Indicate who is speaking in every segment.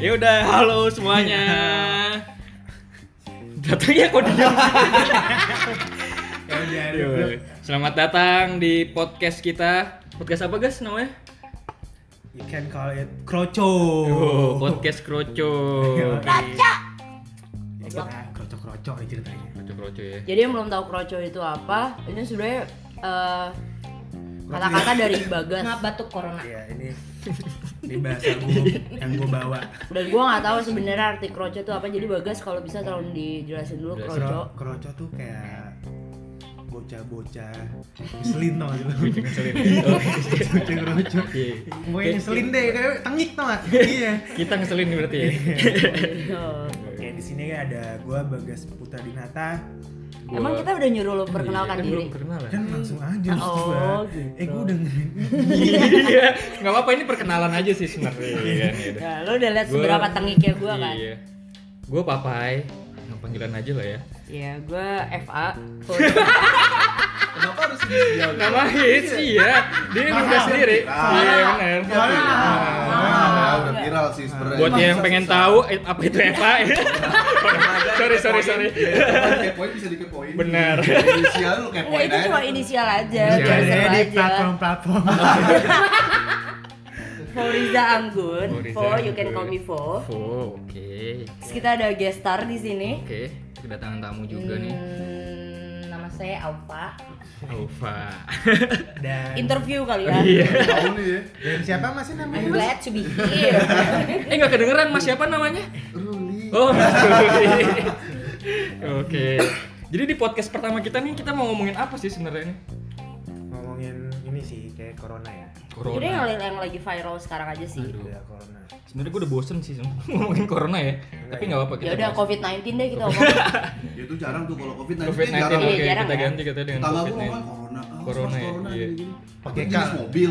Speaker 1: Ya udah, halo semuanya. Datangnya kok diam.
Speaker 2: Ya udah,
Speaker 1: Yo,
Speaker 2: udah.
Speaker 1: Selamat datang di podcast kita. Podcast apa guys namanya?
Speaker 2: You can call it kroco.
Speaker 1: Oh, podcast kroco.
Speaker 2: Kroco. Kroco kroco Iya, aja ceritanya.
Speaker 1: Kroco kroco ya.
Speaker 3: Jadi yang belum tahu kroco itu apa, ini sebenarnya eh, kata-kata dari Bagas.
Speaker 4: Maaf batuk corona.
Speaker 2: Iya ini ini bahasa gua yang gua bawa.
Speaker 3: Dan gua nggak tahu sebenarnya arti kroco itu apa. Jadi Bagas kalau bisa tolong dijelasin dulu
Speaker 1: Jelasin.
Speaker 3: kroco.
Speaker 2: Kro, kroco tuh kayak bocah-bocah ngeselin tau gak sih lu?
Speaker 1: Ngeselin.
Speaker 2: bocah kroco
Speaker 1: Iya.
Speaker 2: gue ngeselin deh kayak tengik tau gak? iya
Speaker 1: Kita ngeselin berarti ya.
Speaker 2: oke di sini ada gua Bagas Putra Dinata
Speaker 1: Gua-
Speaker 3: Emang kita udah nyuruh lo perkenalkan
Speaker 1: Iya, kan
Speaker 3: diri.
Speaker 1: Belum perkenalan.
Speaker 2: kan langsung aja maksud
Speaker 3: Oh,
Speaker 2: gua.
Speaker 3: gitu.
Speaker 2: eh gua udah
Speaker 1: Iya, nggak apa-apa ini perkenalan aja sih sebenarnya. Iya kan, ya udah.
Speaker 3: Ya, lo udah lihat
Speaker 1: Gua-
Speaker 3: seberapa tengiknya gua kan.
Speaker 1: Iya. Gue papai. Yang panggilan aja lah ya.
Speaker 3: Iya, gua FA.
Speaker 2: kenapa harus ini
Speaker 1: Nama hits iya. Dia nulis sendiri. Iya benar.
Speaker 5: Ah, udah viral sih sebenarnya.
Speaker 1: Iya. Buat yang pengen tahu eh, apa itu Eva. sorry sorry sorry.
Speaker 5: iya, Kepoin bisa dikepoin. Iya,
Speaker 1: Benar.
Speaker 5: Inisial lu
Speaker 2: Ya,
Speaker 3: Enggak,
Speaker 5: kepoin
Speaker 3: Ya, itu cuma
Speaker 5: aja.
Speaker 3: inisial aja,
Speaker 1: Inisial aja,
Speaker 3: biar Iya, seru
Speaker 2: Iya, di
Speaker 3: aja.
Speaker 2: platform-platform
Speaker 3: Foriza Anggun,
Speaker 1: Foriza
Speaker 3: Fo, you can
Speaker 1: Anggun.
Speaker 3: call me Fo.
Speaker 1: Oh, oke.
Speaker 3: Terus kita ada guest star di sini.
Speaker 1: Oke, kedatangan tamu juga nih.
Speaker 4: Hmm, nama saya Alfa.
Speaker 3: Hmm.
Speaker 1: Alfa.
Speaker 2: dan
Speaker 3: Interview kali ya.
Speaker 1: Iya.
Speaker 5: Tahu nih ya. Iya,
Speaker 2: dan siapa masih namanya
Speaker 4: I'm
Speaker 2: Mas?
Speaker 4: glad to be here.
Speaker 1: Eh nggak kedengeran Mas siapa namanya?
Speaker 5: Ruli.
Speaker 1: Oh, Mas Rudi. Oke. Jadi di podcast pertama kita nih kita mau ngomongin apa sih sebenarnya nih?
Speaker 2: ngomongin ini sih kayak corona ya
Speaker 3: Jadi yang, yang lagi viral sekarang aja sih.
Speaker 1: Aduh.
Speaker 2: udah corona
Speaker 1: Sebenarnya gue udah bosen sih sama- ngomongin corona ya. Tapi nggak apa-apa kita.
Speaker 3: Iya. Ya udah
Speaker 1: bahas.
Speaker 3: COVID-19 deh kita ngomong.
Speaker 5: Ya itu jarang tuh kalau Covid kan
Speaker 1: COVID-19
Speaker 5: jarang.
Speaker 1: oke,
Speaker 3: Iya, jarang
Speaker 1: kita
Speaker 3: ya.
Speaker 1: ganti katanya dengan
Speaker 5: Tetangga gua
Speaker 1: COVID-19.
Speaker 5: ngomong corona. Ah,
Speaker 1: Corona
Speaker 5: mas,
Speaker 1: ya,
Speaker 5: Corona
Speaker 1: iya.
Speaker 5: gini-gini.
Speaker 2: Pakai
Speaker 5: Jenis
Speaker 2: kal.
Speaker 5: mobil.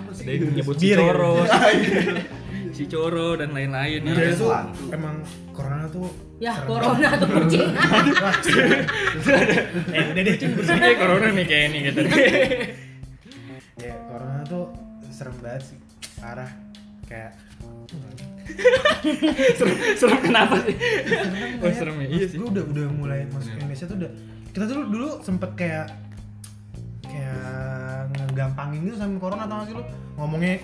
Speaker 5: Apa sih?
Speaker 1: Ada yang nyebut si
Speaker 2: Bir, ya?
Speaker 1: Coro, Iya. si Coro dan lain-lain.
Speaker 5: Iya,
Speaker 2: Iya, itu
Speaker 5: Selalu.
Speaker 2: emang corona tuh
Speaker 4: ya
Speaker 2: serem.
Speaker 4: corona tuh kucing.
Speaker 2: eh udah deh Cun,
Speaker 1: Terus kayak corona nih kayak ini gitu.
Speaker 2: ya corona tuh serem banget sih parah kayak
Speaker 1: serem, serem kenapa sih? Oh
Speaker 2: Serem banget.
Speaker 1: serem ya,
Speaker 2: Mas,
Speaker 1: iya sih.
Speaker 2: gua udah udah mulai masuk
Speaker 1: Bener.
Speaker 2: Indonesia tuh udah kita tuh dulu sempet kayak kayak ngegampangin gitu sama corona tau gak sih lu ngomongnya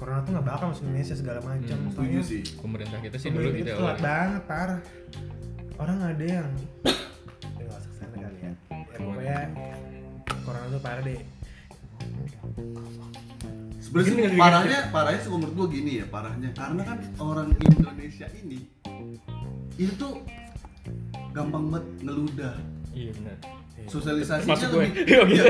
Speaker 2: corona tuh nggak bakal masuk Indonesia segala macam
Speaker 1: Hmm,
Speaker 5: Setuju sih.
Speaker 1: Pemerintah kita sih dulu
Speaker 2: Sebelum itu
Speaker 1: tidak
Speaker 2: telat
Speaker 1: awalnya.
Speaker 2: banget parah. Orang ada yang Udah nggak usah kesana kali ya. ya pokoknya corona tuh parah deh.
Speaker 5: Sebenarnya sih, ya. parahnya parahnya sih menurut gua gini ya parahnya karena kan orang Indonesia ini itu tuh gampang banget ngeludah
Speaker 1: Iya benar.
Speaker 5: sosialisasinya
Speaker 1: Masuk gue.
Speaker 5: lebih
Speaker 1: Iya gitu.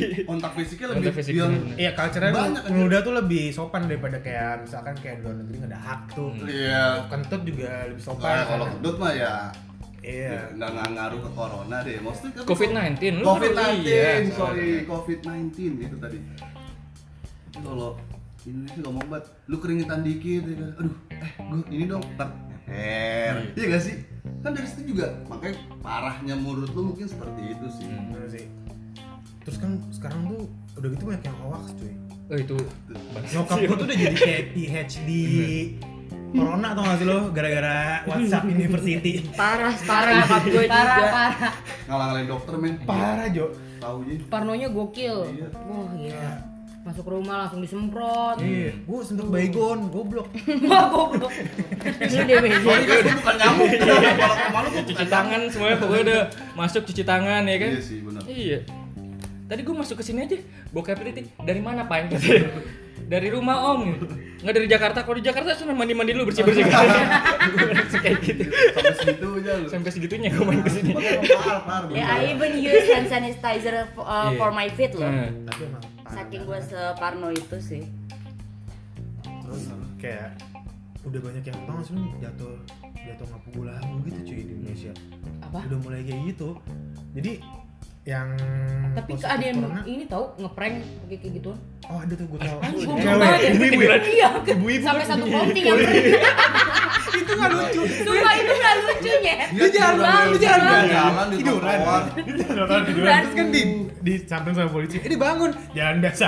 Speaker 5: Iya, kontak fisiknya lebih
Speaker 1: Kontak fisik,
Speaker 5: yang
Speaker 1: bener.
Speaker 2: Iya, culture-nya
Speaker 5: Banyak aja.
Speaker 2: ngeludah tuh lebih sopan daripada kayak misalkan kayak luar negeri nggak ada hak tuh.
Speaker 5: iya
Speaker 2: Kentut juga lebih sopan.
Speaker 5: Nah, kalau kedut mah ya
Speaker 2: iya.
Speaker 5: nggak nggak ngaruh ke corona deh. Maksudnya kan
Speaker 1: COVID-19. lu
Speaker 5: COVID-19,
Speaker 1: baru- iya.
Speaker 5: sorry, COVID-19 itu tadi. Itu Kalau Indonesia ngomong banget, lu keringetan dikit, ya kan? aduh, eh, gua ini dong, tak her,
Speaker 1: Hmm.
Speaker 5: iya gak sih? Kan dari situ juga, makanya parahnya menurut lu mungkin seperti itu sih.
Speaker 1: Hmm.
Speaker 2: Bener sih. Terus kan sekarang tuh udah gitu banyak yang hoax cuy.
Speaker 1: Oh itu.
Speaker 2: Nyokap gua tuh udah jadi kayak PhD corona tau gak sih lo gara-gara WhatsApp University.
Speaker 3: Parah, parah nyokap gue juga.
Speaker 4: parah parah.
Speaker 5: Ngalang-ngalain dokter men,
Speaker 2: Parah, Jo.
Speaker 5: taunya.
Speaker 4: Parnonya gokil.
Speaker 5: Iya.
Speaker 4: Wah gila. Masuk rumah langsung disemprot.
Speaker 2: Iya, gue sempet baygon, goblok.
Speaker 4: Wah goblok.
Speaker 3: Lu deh bego.
Speaker 5: Sorry guys, Kan gua bukan nyamuk, kalau ke malu gua
Speaker 1: Cuci
Speaker 5: bukan nyamuk.
Speaker 1: tangan semuanya pokoknya udah masuk cuci tangan ya kan?
Speaker 5: Iya sih, benar.
Speaker 1: Iya. Tadi gue masuk ke sini aja, bokap titik dari mana pan? Katanya. dari rumah om. Nggak dari Jakarta. Kalau di Jakarta cuma mandi-mandi dulu bersih-bersih. Gua langsung kayak gitu.
Speaker 5: Sampai segitu aja lu.
Speaker 1: Sampai segitunya gue main ke sini.
Speaker 5: Makanya parah, parah.
Speaker 3: Ya,
Speaker 5: bener.
Speaker 3: I even use hand sanitizer for, uh,
Speaker 1: Iya.
Speaker 3: for my feet loh.
Speaker 1: Nah,
Speaker 2: Tapi emang parah
Speaker 3: Saking gue
Speaker 2: banget.
Speaker 3: separno itu sih.
Speaker 2: terus kayak udah banyak yang tau sih jatuh jatuh ngapugul lagu gitu cuy di Indonesia.
Speaker 4: Apa?
Speaker 2: Udah mulai kayak gitu. Jadi yang
Speaker 4: Tapi
Speaker 2: positif
Speaker 4: ada yang
Speaker 2: corona-
Speaker 4: ini tau ngeprank kayak kayak gitu.
Speaker 2: oh ada tuh gue tau
Speaker 4: Anjing,
Speaker 2: cewek
Speaker 4: banget ya.
Speaker 2: ibu ibu
Speaker 4: Iya, sampai satu konti yang prank.
Speaker 2: Iya. itu nggak lucu
Speaker 3: Sumpah itu gak lucu ya.
Speaker 2: dia jalan dia jalan
Speaker 5: Dia
Speaker 2: bangun
Speaker 5: jalan di
Speaker 2: tiduran
Speaker 5: trotoar.
Speaker 2: dia jalan bangun, tiduran
Speaker 3: Tiduran.
Speaker 2: terus kan di di samping sama polisi ini bangun jalan biasa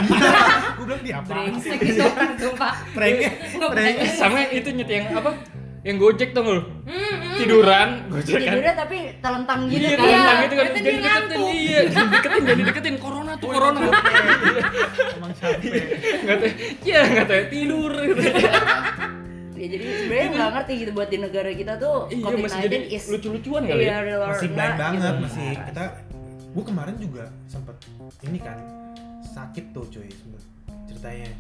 Speaker 2: gue bilang dia apa
Speaker 3: Brengsek itu orang sumpah.
Speaker 2: Pranknya,
Speaker 3: Nggak
Speaker 2: pranknya.
Speaker 3: percaya.
Speaker 1: sama yang itu nyet yang apa yang gojek tuh lu
Speaker 3: Hmm, hmm.
Speaker 1: tiduran gojek kan
Speaker 3: Tidurnya tapi telentang gitu
Speaker 1: Iya,
Speaker 3: kan.
Speaker 1: tentang itu kan
Speaker 3: Berarti
Speaker 1: jadi
Speaker 3: dia
Speaker 1: deketin
Speaker 3: ngantuk.
Speaker 1: iya, jadi deketin jadi deketin corona tuh corona.
Speaker 2: emang capek
Speaker 1: Enggak tahu. Iya, enggak tahu tidur gitu.
Speaker 3: Ya jadi sebenarnya nggak ngerti gitu buat di negara kita tuh
Speaker 1: Iya,
Speaker 3: COVID-19
Speaker 1: masih jadi
Speaker 3: is
Speaker 1: lucu-lucuan kali
Speaker 3: iya,
Speaker 1: ya.
Speaker 3: real or
Speaker 2: masih
Speaker 3: not
Speaker 2: baik banget
Speaker 3: gitu.
Speaker 2: masih kita gue kemarin juga sempet ini kan sakit tuh cuy sempet ceritanya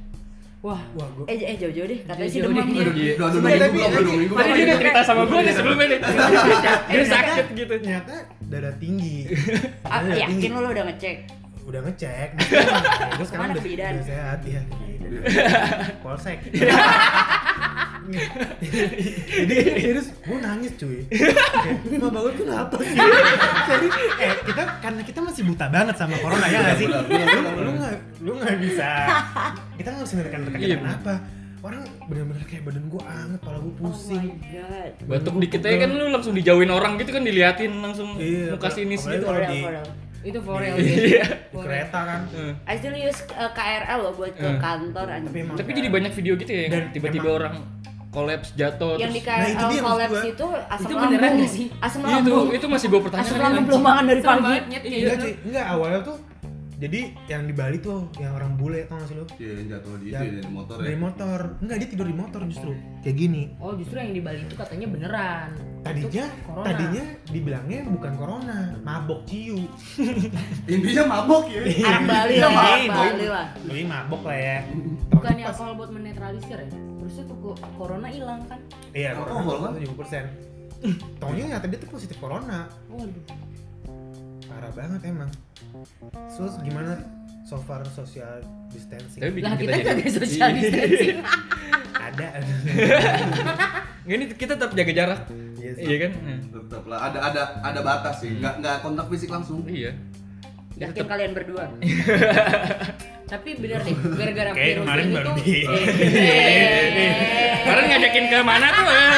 Speaker 4: Wah,
Speaker 2: wah gue
Speaker 3: Eh, eh jauh-jauh deh, katanya sih
Speaker 4: Jauh-jauh deh.
Speaker 3: demam
Speaker 5: Aduh,
Speaker 2: Iya.
Speaker 3: ya.
Speaker 5: dua dua- dua
Speaker 2: Sebenarnya
Speaker 5: minggu, dua
Speaker 2: dia-
Speaker 5: minggu.
Speaker 1: Tadi dia udah cerita sama gue nih sebelumnya nih.
Speaker 2: Iya.
Speaker 1: Dia sakit gitu.
Speaker 2: ternyata dada tinggi
Speaker 3: Ah,
Speaker 2: Dada
Speaker 3: yakin lu lu udah ngecek?
Speaker 2: udah ngecek gue sekarang
Speaker 3: Mana Iya,
Speaker 2: udah,
Speaker 3: kebidan?
Speaker 2: udah sehat ya
Speaker 3: iya.
Speaker 2: polsek jadi serius gue nangis cuy Kayak, Mbak Bagul kenapa sih? Jadi, eh kita karena kita masih buta banget sama corona ya nggak sih?
Speaker 5: Benar, Iya, benar,
Speaker 2: Lu-
Speaker 5: benar,
Speaker 2: Lu nggak lu nggak bisa. Kita nggak bisa menekan rekan
Speaker 1: Iya,
Speaker 2: kita kenapa? Orang bener-bener kayak badan gue anget, kepala gue
Speaker 3: Oh my
Speaker 2: pusing.
Speaker 3: god.
Speaker 1: Batuk dikit aja kan lu langsung dijauhin orang gitu kan diliatin langsung muka
Speaker 2: Iya, apalagi-
Speaker 1: sinis
Speaker 2: apalagi
Speaker 1: gitu.
Speaker 2: kalau
Speaker 3: Korea,
Speaker 2: di-
Speaker 3: Korea.
Speaker 4: itu for real
Speaker 1: Iya.
Speaker 2: Di kereta kan.
Speaker 1: Heeh.
Speaker 3: I still use uh, KRL loh buat ke
Speaker 1: Eh.
Speaker 3: kantor anjing.
Speaker 2: emang
Speaker 1: Tapi
Speaker 2: kayak-
Speaker 1: jadi banyak video gitu ya
Speaker 2: Dan
Speaker 1: yang tiba-tiba
Speaker 2: emang-
Speaker 1: orang kolaps jatuh
Speaker 3: Yang di
Speaker 1: terus.
Speaker 2: Nah, itu
Speaker 3: KRL
Speaker 2: dia maksud gua.
Speaker 3: collapse itu asam
Speaker 4: Itu
Speaker 3: lambung.
Speaker 4: beneran nggak sih?
Speaker 3: Asam
Speaker 1: Iya, itu
Speaker 3: lambung.
Speaker 1: itu masih gue
Speaker 3: Asam
Speaker 1: pertanyaan.
Speaker 3: lambung
Speaker 1: anjing.
Speaker 3: belum makan dari
Speaker 4: Serem
Speaker 3: pagi.
Speaker 4: banget, Nyet, kayak
Speaker 2: Enggak
Speaker 4: gitu.
Speaker 2: cuy, enggak awalnya tuh jadi yang di Bali tuh yang orang bule tau gak sih lo?
Speaker 5: Iya, yang jatuh di itu
Speaker 2: Yang
Speaker 5: ya, dari motor ya.
Speaker 2: Dari motor, enggak dia tidur di motor justru kayak gini.
Speaker 4: Oh justru yang di Bali itu katanya beneran.
Speaker 2: Tadinya,
Speaker 4: Itu corona.
Speaker 2: tadinya dibilangnya bukan corona, mabok ciu.
Speaker 5: Intinya mabok ya.
Speaker 3: Anak Bali
Speaker 2: Iya,
Speaker 3: lah, anak
Speaker 2: boy.
Speaker 3: Bali lah.
Speaker 2: Jadi mabok lah ya.
Speaker 4: Bukannya alkohol buat menetralisir ya? Harusnya tuh ko- corona hilang kan?
Speaker 2: Iya,
Speaker 5: Alkohol
Speaker 2: corona
Speaker 5: kan?
Speaker 2: 70 persen. Taunya nyata dia tuh positif corona,
Speaker 4: Waduh.
Speaker 2: parah banget emang. So gimana so far social
Speaker 1: Tapi
Speaker 2: distancing?
Speaker 1: bikin
Speaker 4: Lah kita
Speaker 1: kita
Speaker 4: kagak
Speaker 1: jadi
Speaker 4: social distancing.
Speaker 2: Ada.
Speaker 1: Nggak, ini kita tetap jaga jarak.
Speaker 2: Iya sih.
Speaker 1: Iya kan? Nah,
Speaker 5: Tetap lah ada ada ada batas sih. Enggak enggak kontak fisik langsung.
Speaker 1: Iya. Ya,
Speaker 3: Yakin kalian berdua.
Speaker 4: Tapi bener deh, gara-gara
Speaker 2: Kayak
Speaker 4: virus
Speaker 2: kemarin
Speaker 4: ini
Speaker 2: baru
Speaker 4: tuh.
Speaker 2: di-
Speaker 1: iya,
Speaker 3: Iya.
Speaker 1: Kemarin ngajakin ke mana tuh? eh?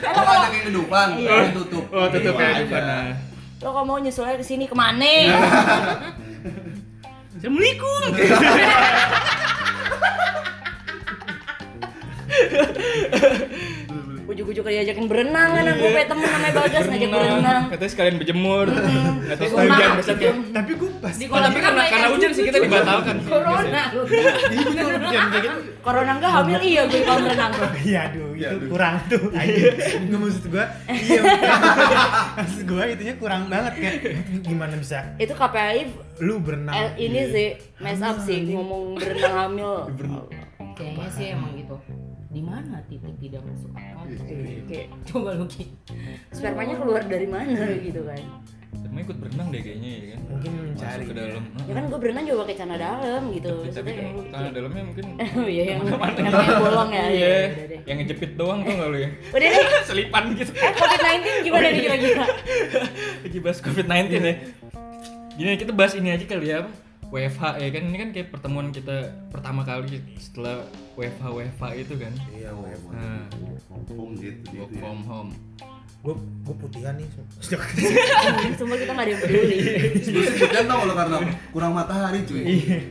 Speaker 5: Kalau ada yang kedupan, ada yang tutup.
Speaker 1: Oh, tutup
Speaker 5: Iya,
Speaker 1: ya di
Speaker 5: aja.
Speaker 1: mana?
Speaker 3: Lo kalau mau nyusulnya ke sini
Speaker 2: Iya.
Speaker 3: kemana?
Speaker 1: Assalamualaikum.
Speaker 3: Ujung-ujung diajakin berenang kan gue punya temen namanya Bagas ngajak berenang.
Speaker 1: Katanya sekalian berjemur. Katanya
Speaker 3: Gua
Speaker 1: hujan
Speaker 3: maaf,
Speaker 1: besar ya.
Speaker 3: gitu.
Speaker 2: Tapi gue pas
Speaker 4: Di kolam
Speaker 1: Tapi karena
Speaker 4: ikan
Speaker 1: karena
Speaker 4: banyak
Speaker 1: hujan sih kita dibatalkan.
Speaker 3: Corona.
Speaker 2: Jadi gue kalau pikiran kayak gitu
Speaker 3: Nah, Corona enggak hamil iya gue kalau berenang tuh.
Speaker 2: Iya aduh,
Speaker 5: Iya,
Speaker 2: itu
Speaker 5: aduh.
Speaker 2: kurang tuh anjing. Nggak maksud gua, iya Maksud gua itunya kurang banget kayak Gimana bisa
Speaker 3: Itu KPI
Speaker 2: lu berenang
Speaker 3: Eh, ini sih mess up
Speaker 2: Hamil,
Speaker 3: sih
Speaker 2: anjing.
Speaker 3: ngomong Nah, iya. berenang hamil.
Speaker 4: Kayaknya sih emang gitu. Di mana titik tidak masuk akal?
Speaker 3: Iya, Kayak
Speaker 4: Coba lu ki.
Speaker 3: spermanya keluar dari mana gitu kan?
Speaker 1: Emang ikut berenang deh kayaknya ya kan.
Speaker 2: Mungkin mencari
Speaker 1: Masuk ke dalam.
Speaker 3: Ya kan gue berenang juga pakai celana dalam gitu.
Speaker 1: Tapi- Tapi kan
Speaker 3: Maksudnya
Speaker 1: tanah dalamnya mungkin
Speaker 3: kayak- Iya yang yang kayak bolong ya. Iya.
Speaker 1: Iya,
Speaker 3: udah deh.
Speaker 1: yang ngejepit doang tuh nggak lu ya?
Speaker 3: Udah deh.
Speaker 1: Selipan gitu.
Speaker 3: Eh COVID-19 gimana nih kira-kira?
Speaker 1: Lagi bahas COVID-19 ya. Gini kita bahas ini aja kali ya. apa? WFH ya kan ini kan kayak pertemuan kita pertama kali setelah WFH WFH itu kan.
Speaker 5: Iya, weh.
Speaker 1: Nah,
Speaker 5: Home gitu.
Speaker 1: work
Speaker 5: gitu ya.
Speaker 1: from home.
Speaker 2: Gue gue putihan nih
Speaker 1: Iya.
Speaker 3: Semua kita nggak ada yang peduli.
Speaker 5: Sebenernya hujan tau lo karena kurang matahari cuy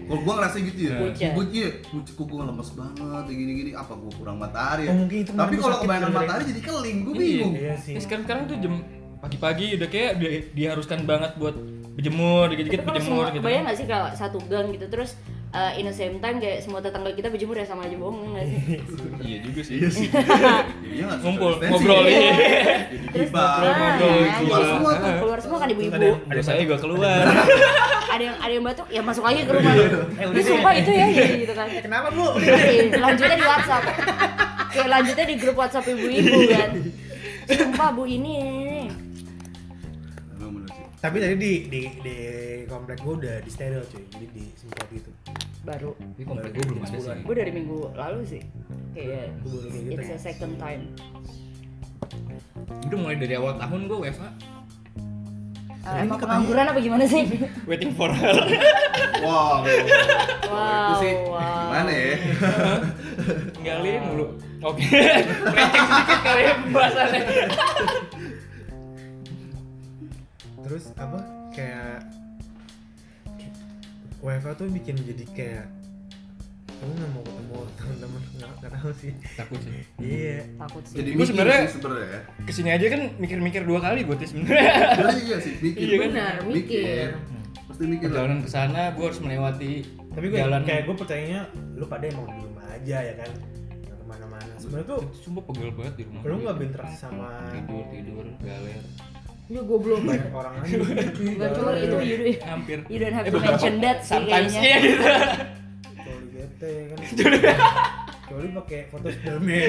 Speaker 5: Kalau gua ngerasa gitu ya
Speaker 3: Hujan.
Speaker 5: Gua iya, gua kok gua lemes banget ya gini-gini Apa gua kurang matahari ya
Speaker 2: Oh, mungkin itu
Speaker 5: Tapi
Speaker 2: kemarin
Speaker 5: kalau
Speaker 2: sakit
Speaker 5: kebanyakan
Speaker 2: gara-gara
Speaker 5: matahari jadi keling, gua bingung
Speaker 2: Iya sih
Speaker 1: Eh, sekarang sekarang tuh jam pagi-pagi udah kayak di- diharuskan banget buat berjemur, dikit-dikit
Speaker 3: Tapi kalau semua
Speaker 1: berjemur gitu.
Speaker 3: kebayang nggak sih kalau satu gang gitu terus eh, in the same time kayak semua tetangga kita berjemur ya sama aja bohong nggak sih?
Speaker 1: Iya juga sih.
Speaker 5: Iya sih Jadinya nggak
Speaker 1: Ngumpul,
Speaker 5: social
Speaker 1: ngobrol
Speaker 5: distancing.
Speaker 1: iya.
Speaker 5: Jadi
Speaker 3: Terus
Speaker 5: tiba
Speaker 1: ngobrol,
Speaker 3: nah,
Speaker 1: gila.
Speaker 3: keluar semua tuh, keluar semua kan
Speaker 2: Terus
Speaker 3: ibu-ibu.
Speaker 2: ada
Speaker 1: Udah
Speaker 2: yang-
Speaker 1: saya gua keluar.
Speaker 3: ada yang ada yang batuk ya masuk lagi ke
Speaker 2: Iya.
Speaker 3: rumah
Speaker 2: Eh,
Speaker 3: terus sumpah itu ya ya gitu kan
Speaker 2: Kenapa bu?
Speaker 3: Iya, lanjutnya di WhatsApp kayak lanjutnya di grup WhatsApp ibu-ibu kan sumpah bu ini
Speaker 5: Emang bener sih.
Speaker 2: Tapi tadi di di di komplek gue udah di steril cuy, jadi di semprot gitu.
Speaker 3: baru
Speaker 1: Ini komplek gua belum ada sih.
Speaker 3: gue dari minggu lalu sih kayak
Speaker 2: Gue baru kayak gitu.
Speaker 3: it's a second time
Speaker 1: Udah mulai dari awal tahun gua WFH.
Speaker 2: Nah,
Speaker 3: Emang pengangguran apa gimana sih?
Speaker 1: Waiting for her.
Speaker 5: Wow. Itu
Speaker 3: Wow,
Speaker 5: sih
Speaker 3: wow.
Speaker 5: gimana ya?
Speaker 1: Tinggalin mulu. Oke. Recek sedikit kali ya pembahasannya.
Speaker 2: terus apa kayak WFA tuh bikin jadi kayak kamu nggak mau ketemu teman-teman nggak nggak tahu sih
Speaker 1: Takut sih.
Speaker 2: iya
Speaker 3: Takut sih.
Speaker 5: Jadi
Speaker 1: Gua
Speaker 5: mikir
Speaker 1: sebenarnya-
Speaker 5: sih sebenarnya.
Speaker 1: Kesini aja kan mikir-mikir dua kali gue tis sebenarnya.
Speaker 5: Sebenarnya iya sih mikir.
Speaker 1: Iya kan?
Speaker 4: Benar, mikir.
Speaker 5: Pasti mikir lah.
Speaker 1: Perjalanan ke sana gue harus melewati
Speaker 2: tapi gue
Speaker 1: jalan
Speaker 2: kayak gue percayanya lu pada emang di rumah aja ya kan nggak kemana-mana sebenarnya tuh
Speaker 1: Itu sumpah pegel banget di rumah.
Speaker 2: lu nggak berinteraksi sama
Speaker 1: tidur tidur galer.
Speaker 3: Ini goblok.
Speaker 2: banyak orang aja cuy
Speaker 3: Gak cuma itu you, do-
Speaker 1: Hampir.
Speaker 3: you don't have
Speaker 1: Eh,
Speaker 3: to
Speaker 1: bukan.
Speaker 3: mention that sih
Speaker 1: Sometimes
Speaker 3: kayaknya.
Speaker 1: iya gitu.
Speaker 2: coli bete ya kan coli pakai foto Spiderman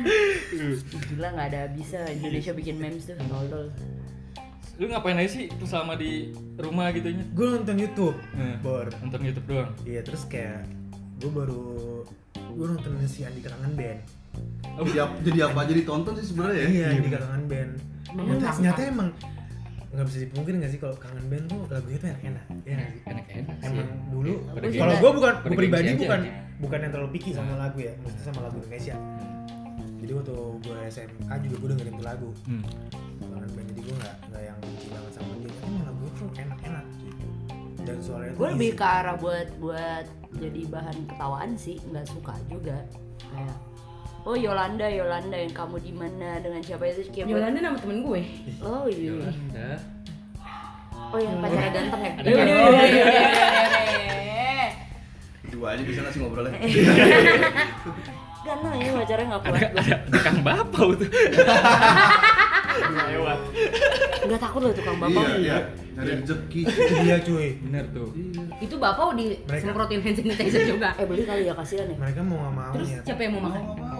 Speaker 5: iya.
Speaker 3: Gila nggak ada bisa Indonesia bikin memes tuh tolol.
Speaker 1: Lu ngapain aja sih tuh selama di rumah gitu nya?
Speaker 2: gue nonton YouTube
Speaker 1: Hmm.
Speaker 2: bor
Speaker 1: Nonton YouTube doang.
Speaker 2: iya terus kayak gue baru gue nonton si Andi Karangan Band
Speaker 5: Jadi, ap- jadi apa aja ditonton sih sebenarnya ya?
Speaker 2: iya Andi Karangan Band
Speaker 4: Emang
Speaker 2: nyata,
Speaker 4: kenapa?
Speaker 2: nyata emang nggak bisa dipungkiri nggak sih kalau kangen band tuh lagunya tuh enak-enak ya nggak sih?
Speaker 1: Enak-enak sih.
Speaker 2: emang dulu
Speaker 1: Pada
Speaker 2: kalau
Speaker 1: gengsi-
Speaker 2: gue bukan
Speaker 1: pada
Speaker 2: gue
Speaker 1: gengsi
Speaker 2: pribadi
Speaker 1: Iya. aja.
Speaker 2: bukan bukan yang terlalu picky sama lagu ya maksudnya sama lagu Indonesia jadi waktu gue SMA juga gue dengerin tuh lagu
Speaker 1: Hmm.
Speaker 2: kangen band jadi gue nggak nggak yang benci banget sama dia tapi emang lagunya tuh enak-enak gitu dan suaranya tuh
Speaker 3: Gue lebih
Speaker 2: easy.
Speaker 3: ke arah buat buat jadi bahan ketawaan sih, nggak suka juga. Kayak Oh Yolanda, Yolanda yang kamu di mana dengan siapa itu kayak buat-
Speaker 4: Yolanda nama temen gue.
Speaker 3: Oh iya.
Speaker 1: Yolanda.
Speaker 3: Oh yang pacarnya ganteng ya.
Speaker 1: Ada kan?
Speaker 3: iya,
Speaker 5: Dua aja bisa ngasih ngobrolnya.
Speaker 3: Ganteng ya pacarnya nggak kuat. gua.
Speaker 1: Ada Kang Bapau tuh. Lewat.
Speaker 3: Nggak takut loh tukang bapak.
Speaker 5: Iya, iya. Cari rezeki.
Speaker 2: itu dia Iya, cuy
Speaker 1: Bener tuh.
Speaker 5: Iya.
Speaker 4: Itu bapak disemprotin hand sanitizer juga.
Speaker 3: Eh beli kali ya kasihan ya.
Speaker 2: mereka mau nggak mau
Speaker 4: Terus
Speaker 2: ya
Speaker 4: siapa yang mau
Speaker 5: Mau
Speaker 4: makan?
Speaker 5: nggak mau bener.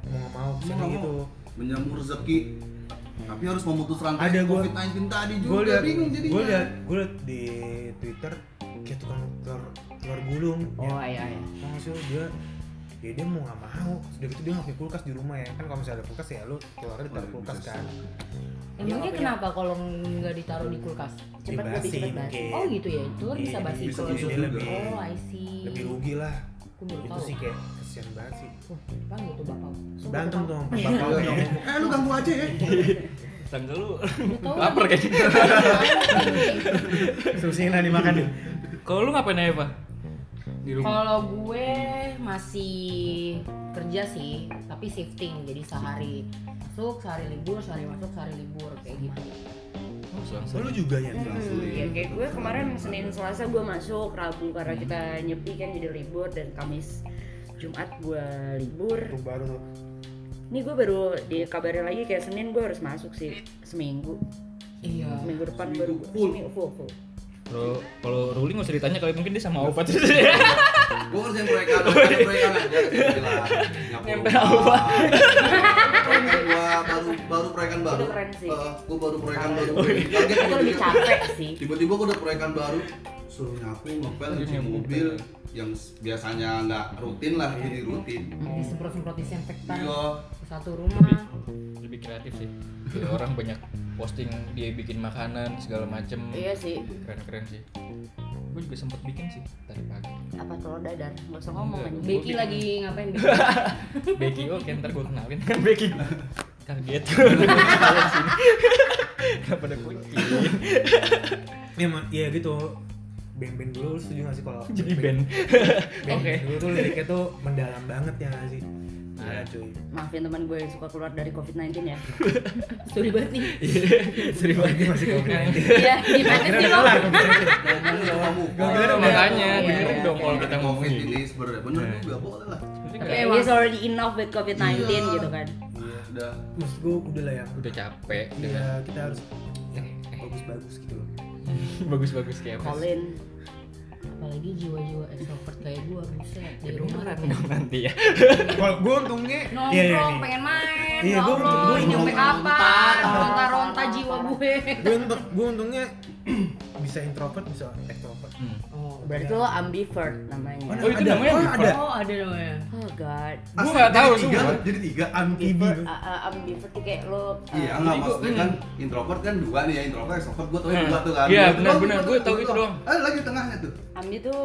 Speaker 2: mau nggak mau
Speaker 5: Mau
Speaker 2: kesini
Speaker 5: nggak
Speaker 2: gitu
Speaker 5: mau. Menyambung rezeki. Tapi harus memutus rantai
Speaker 2: Ada gua-
Speaker 5: COVID-19 tadi
Speaker 2: gue
Speaker 5: juga.
Speaker 2: liat
Speaker 5: bingung jadi.
Speaker 2: gue liat gue liat di twitter kayak tukang telur telur gulung
Speaker 4: Oh
Speaker 2: ya.
Speaker 4: iya iya.
Speaker 2: Mau nggak sih lu, dia ya dia mau nggak mau udah gitu dia ngapain kulkas di rumah ya kan kalau misalnya ada kulkas ya lu keluarnya di taruh
Speaker 5: Oh,
Speaker 2: kulkas
Speaker 5: bisa
Speaker 2: kan
Speaker 4: Emangnya
Speaker 2: ya?
Speaker 4: kenapa kalau nggak ditaruh di kulkas?
Speaker 3: Cepat lebih
Speaker 2: Dibasi
Speaker 3: cepat basi.
Speaker 2: mungkin
Speaker 4: Oh gitu ya, telur bisa
Speaker 2: Iya,
Speaker 4: basi
Speaker 5: bisa
Speaker 4: telur.
Speaker 5: busuk
Speaker 2: jadi lebih
Speaker 4: Oh I see.
Speaker 2: lebih rugi lah
Speaker 4: Aku baru
Speaker 2: itu
Speaker 4: tahu.
Speaker 2: sih kayak kesian banget sih
Speaker 4: Wah, panggil tuh bapak. Sumpah
Speaker 2: berantem tuh
Speaker 4: tuh,
Speaker 2: sama
Speaker 4: Bapak.
Speaker 2: bapak
Speaker 5: Iya,
Speaker 2: ya.
Speaker 5: ngomong, Eh lu ganggu aja ya.
Speaker 1: Tanggal lu
Speaker 4: Nggak tahu
Speaker 1: lapar
Speaker 4: lagi.
Speaker 1: kayaknya.
Speaker 2: susiin lah dimakan nih
Speaker 1: Kalau lu ngapain aja, Pak? Di rumah.
Speaker 4: Kalau gue masih kerja sih, tapi shifting jadi sehari masuk, sehari libur, sehari masuk, sehari libur kayak gitu.
Speaker 2: so lu juga ya
Speaker 3: Hmm, ya kayak gue kemarin Senin Selasa gue masuk Rabu karena kita nyepi kan jadi libur dan Kamis Jumat gue libur
Speaker 2: Tuh baru tuh
Speaker 3: nih gue baru dikabarin lagi kayak Senin gue harus masuk sih seminggu
Speaker 4: Iya.
Speaker 3: minggu depan baru
Speaker 5: Seminggu full.
Speaker 3: seminggu full, full.
Speaker 1: Kalau kalau Ruli nggak usah ditanya kali mungkin dia sama Opa
Speaker 5: Gue kerjain proyek anak, ada proyek anak. Ya, gila. Nyapu
Speaker 1: Nempel
Speaker 5: rumah.
Speaker 1: apa?
Speaker 5: Proyekan gua baru baru proyekan baru.
Speaker 3: Itu keren sih.
Speaker 5: Eh, gua baru proyekan baru. iya,
Speaker 3: itu lebih capek sih
Speaker 5: Tiba-tiba gua udah proyekan baru. Suruh nyapu,
Speaker 1: Iya,
Speaker 5: ngepel, cuci mobil yang s- biasanya nggak rutin lah
Speaker 3: Iya.
Speaker 5: jadi rutin.
Speaker 1: Hmm.
Speaker 4: Disemprot-semprot disinfektan
Speaker 5: Iya.
Speaker 4: ke satu rumah.
Speaker 1: Lebih kreatif sih. Jadi orang banyak posting dia bikin makanan segala macem.
Speaker 3: iya sih
Speaker 1: Keren-keren sih. Gue juga sempet bikin sih tadi pagi.
Speaker 3: apa telur dadar nggak usah ngomong
Speaker 1: Enggak.
Speaker 3: aja
Speaker 4: Becky lagi ngapain? Becky?
Speaker 1: Becky oke ntar gue kenalin kan Becky kaget nggak pada kucing
Speaker 2: ya ma- ya gitu band-band dulu lu setuju gak sih kalau
Speaker 1: jadi band
Speaker 2: band
Speaker 1: Oke. Iya.
Speaker 2: dulu tuh liriknya tuh mendalam banget ya gak sih ada cuy
Speaker 3: maafin teman gue yang suka keluar dari COVID-19 ya
Speaker 4: Sorry banget nih.
Speaker 1: Sorry banget
Speaker 2: masih komen
Speaker 4: Iya,
Speaker 2: Kira
Speaker 4: gimana sih
Speaker 2: udah
Speaker 4: lo?
Speaker 2: kelar pembicaraan.
Speaker 5: Ngomongin sama kamu.
Speaker 1: Bener, makanya
Speaker 4: Iya,
Speaker 1: dengerin
Speaker 4: iya.
Speaker 1: dong kalau kita
Speaker 5: Kita covid
Speaker 1: ngomongin Iya.
Speaker 5: ini sebenarnya bener juga boleh lah.
Speaker 3: tapi
Speaker 4: Iya.
Speaker 3: it's already enough with COVID-19
Speaker 5: Iya.
Speaker 3: gitu kan
Speaker 5: Iya, udah.
Speaker 2: maksud gue udah lah yang
Speaker 1: udah capek
Speaker 2: ya
Speaker 1: dengan
Speaker 2: kita harus
Speaker 1: Eh,
Speaker 2: yang bagus-bagus gitu loh
Speaker 1: Iya. bagus-bagus kayak apa sih.
Speaker 3: Colin
Speaker 4: Apalagi jiwa-jiwa extrovert kayak ya. gue buset di rumah.
Speaker 1: Kedengeran dong nanti ya
Speaker 2: kalau gue untungnya iya iya
Speaker 4: Nongkrong,
Speaker 2: nih
Speaker 4: pengen
Speaker 2: Iya,
Speaker 4: main, ya
Speaker 2: gua-
Speaker 4: Allah,
Speaker 2: gua
Speaker 4: ini sampai
Speaker 5: nongkrong.
Speaker 4: kapan? Ronta-ronta jiwa gue.
Speaker 2: gue untung gue untungnya bisa bisa introvert bisa extrovert
Speaker 1: Hmm.
Speaker 4: Oh,
Speaker 3: Itu lo ambivert namanya.
Speaker 1: Oh, itu namanya
Speaker 2: oh,
Speaker 1: ambivert.
Speaker 2: ada
Speaker 4: oh ada namanya.
Speaker 3: Oh god. uh,
Speaker 1: Gua
Speaker 5: Asli,
Speaker 1: nggak
Speaker 5: jadi
Speaker 1: tahu
Speaker 5: tiga,
Speaker 1: semua.
Speaker 5: jadi tiga
Speaker 1: Iya, kan?
Speaker 5: anti
Speaker 3: Ambivert, a- a- ambivert tuh kayak lo uh,
Speaker 5: Iya, enggak
Speaker 1: Ah, Jadi gua-
Speaker 5: maksudnya kan introvert kan dua nih ya, introvert extrovert gua tau
Speaker 1: Hmm.
Speaker 5: dua tuh kan.
Speaker 1: Iya,
Speaker 5: Gua-
Speaker 1: benar,
Speaker 5: oh,
Speaker 1: benar.
Speaker 5: gua
Speaker 1: Gua tau gitu doang.
Speaker 5: Ah, lagi tengahnya tuh.
Speaker 3: ambi tuh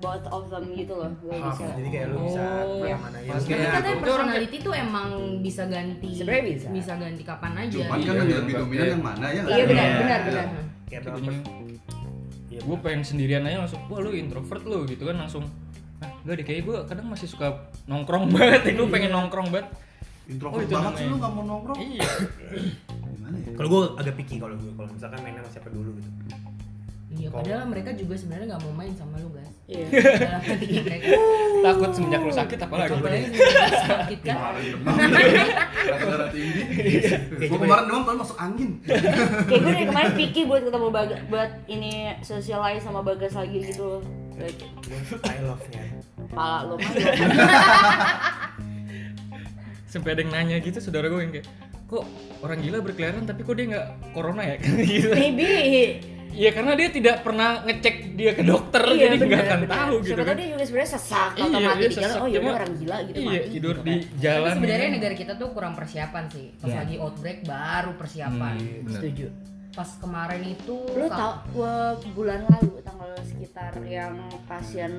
Speaker 3: both of them gitu loh. Lo
Speaker 2: Half,
Speaker 3: bisa.
Speaker 2: jadi kayak lu bisa
Speaker 1: Oh.
Speaker 2: kemana-mana ya
Speaker 1: Maksudnya
Speaker 4: Tapi
Speaker 1: Iya, itu
Speaker 4: katanya
Speaker 1: orang
Speaker 4: personality tuh emang bisa ganti.
Speaker 3: Sebenarnya bisa.
Speaker 4: ganti kapan aja.
Speaker 5: Cuman
Speaker 6: Iya,
Speaker 5: kan yang
Speaker 6: iya,
Speaker 5: lebih
Speaker 6: iya.
Speaker 5: dominan yang mana ya?
Speaker 3: Iya benar,
Speaker 2: Iya.
Speaker 3: benar, benar.
Speaker 2: kayak
Speaker 1: Kayak
Speaker 2: berapa
Speaker 1: gini.
Speaker 2: Iya,
Speaker 1: gue Ya, pengen sendirian aja langsung wah lu introvert lu gitu kan langsung ah gak deh kayaknya gue kadang masih suka nongkrong banget gue pengen nongkrong banget Oh,
Speaker 5: Introvert
Speaker 1: itu
Speaker 5: banget sih
Speaker 1: namanya.
Speaker 5: lu enggak mau nongkrong.
Speaker 1: iya
Speaker 5: Gimana ya?
Speaker 2: kalau gue agak picky kalau gue kalau misalkan mainnya sama siapa dulu gitu
Speaker 4: Iya, padahal mereka juga sebenarnya nggak mau main sama lu guys.
Speaker 3: Iya.
Speaker 4: Dalam hatinya mereka.
Speaker 1: takut semenjak lu sakit apalagi
Speaker 4: Contohnya sebenarnya sakit
Speaker 1: Iya.
Speaker 4: kan.
Speaker 5: Darah tinggi.
Speaker 2: Iya,
Speaker 5: Gua
Speaker 2: coba
Speaker 5: kemarin doang kalau masuk angin.
Speaker 3: Iya, Kayak gue dari kemarin picky buat ketemu Bagas, buat ini socialize sama Bagas lagi gitu. Kayak
Speaker 2: I love ya. nya
Speaker 3: Pala lo mah. ya,
Speaker 1: sampai ada yang nanya gitu saudara gue yang kayak kok orang gila berkeliaran tapi kok dia nggak corona ya gitu
Speaker 3: Maybe.
Speaker 1: ya karena dia tidak pernah ngecek dia ke dokter
Speaker 3: Iya,
Speaker 1: jadi nggak
Speaker 3: benar,
Speaker 1: akan
Speaker 3: benar.
Speaker 1: tahu gitu
Speaker 3: Siapa
Speaker 1: kan
Speaker 3: tahu dia juga sebenarnya sesak
Speaker 1: Iya,
Speaker 3: atau mati
Speaker 1: dia
Speaker 3: di jalan.
Speaker 1: sesak,
Speaker 3: Oh, ya
Speaker 1: cuma-
Speaker 3: orang gila gitu
Speaker 1: iya
Speaker 3: mati.
Speaker 1: tidur
Speaker 3: gitu
Speaker 1: di
Speaker 3: kan.
Speaker 1: jalan
Speaker 4: Tapi sebenarnya
Speaker 1: gitu.
Speaker 4: negara kita tuh kurang persiapan sih. Pas
Speaker 1: Iya.
Speaker 4: lagi outbreak baru persiapan.
Speaker 1: Hmm.
Speaker 3: Setuju.
Speaker 4: Pas kemarin itu
Speaker 3: Lu
Speaker 4: kak-
Speaker 3: tau gua bulan lalu tanggal sekitar yang pasien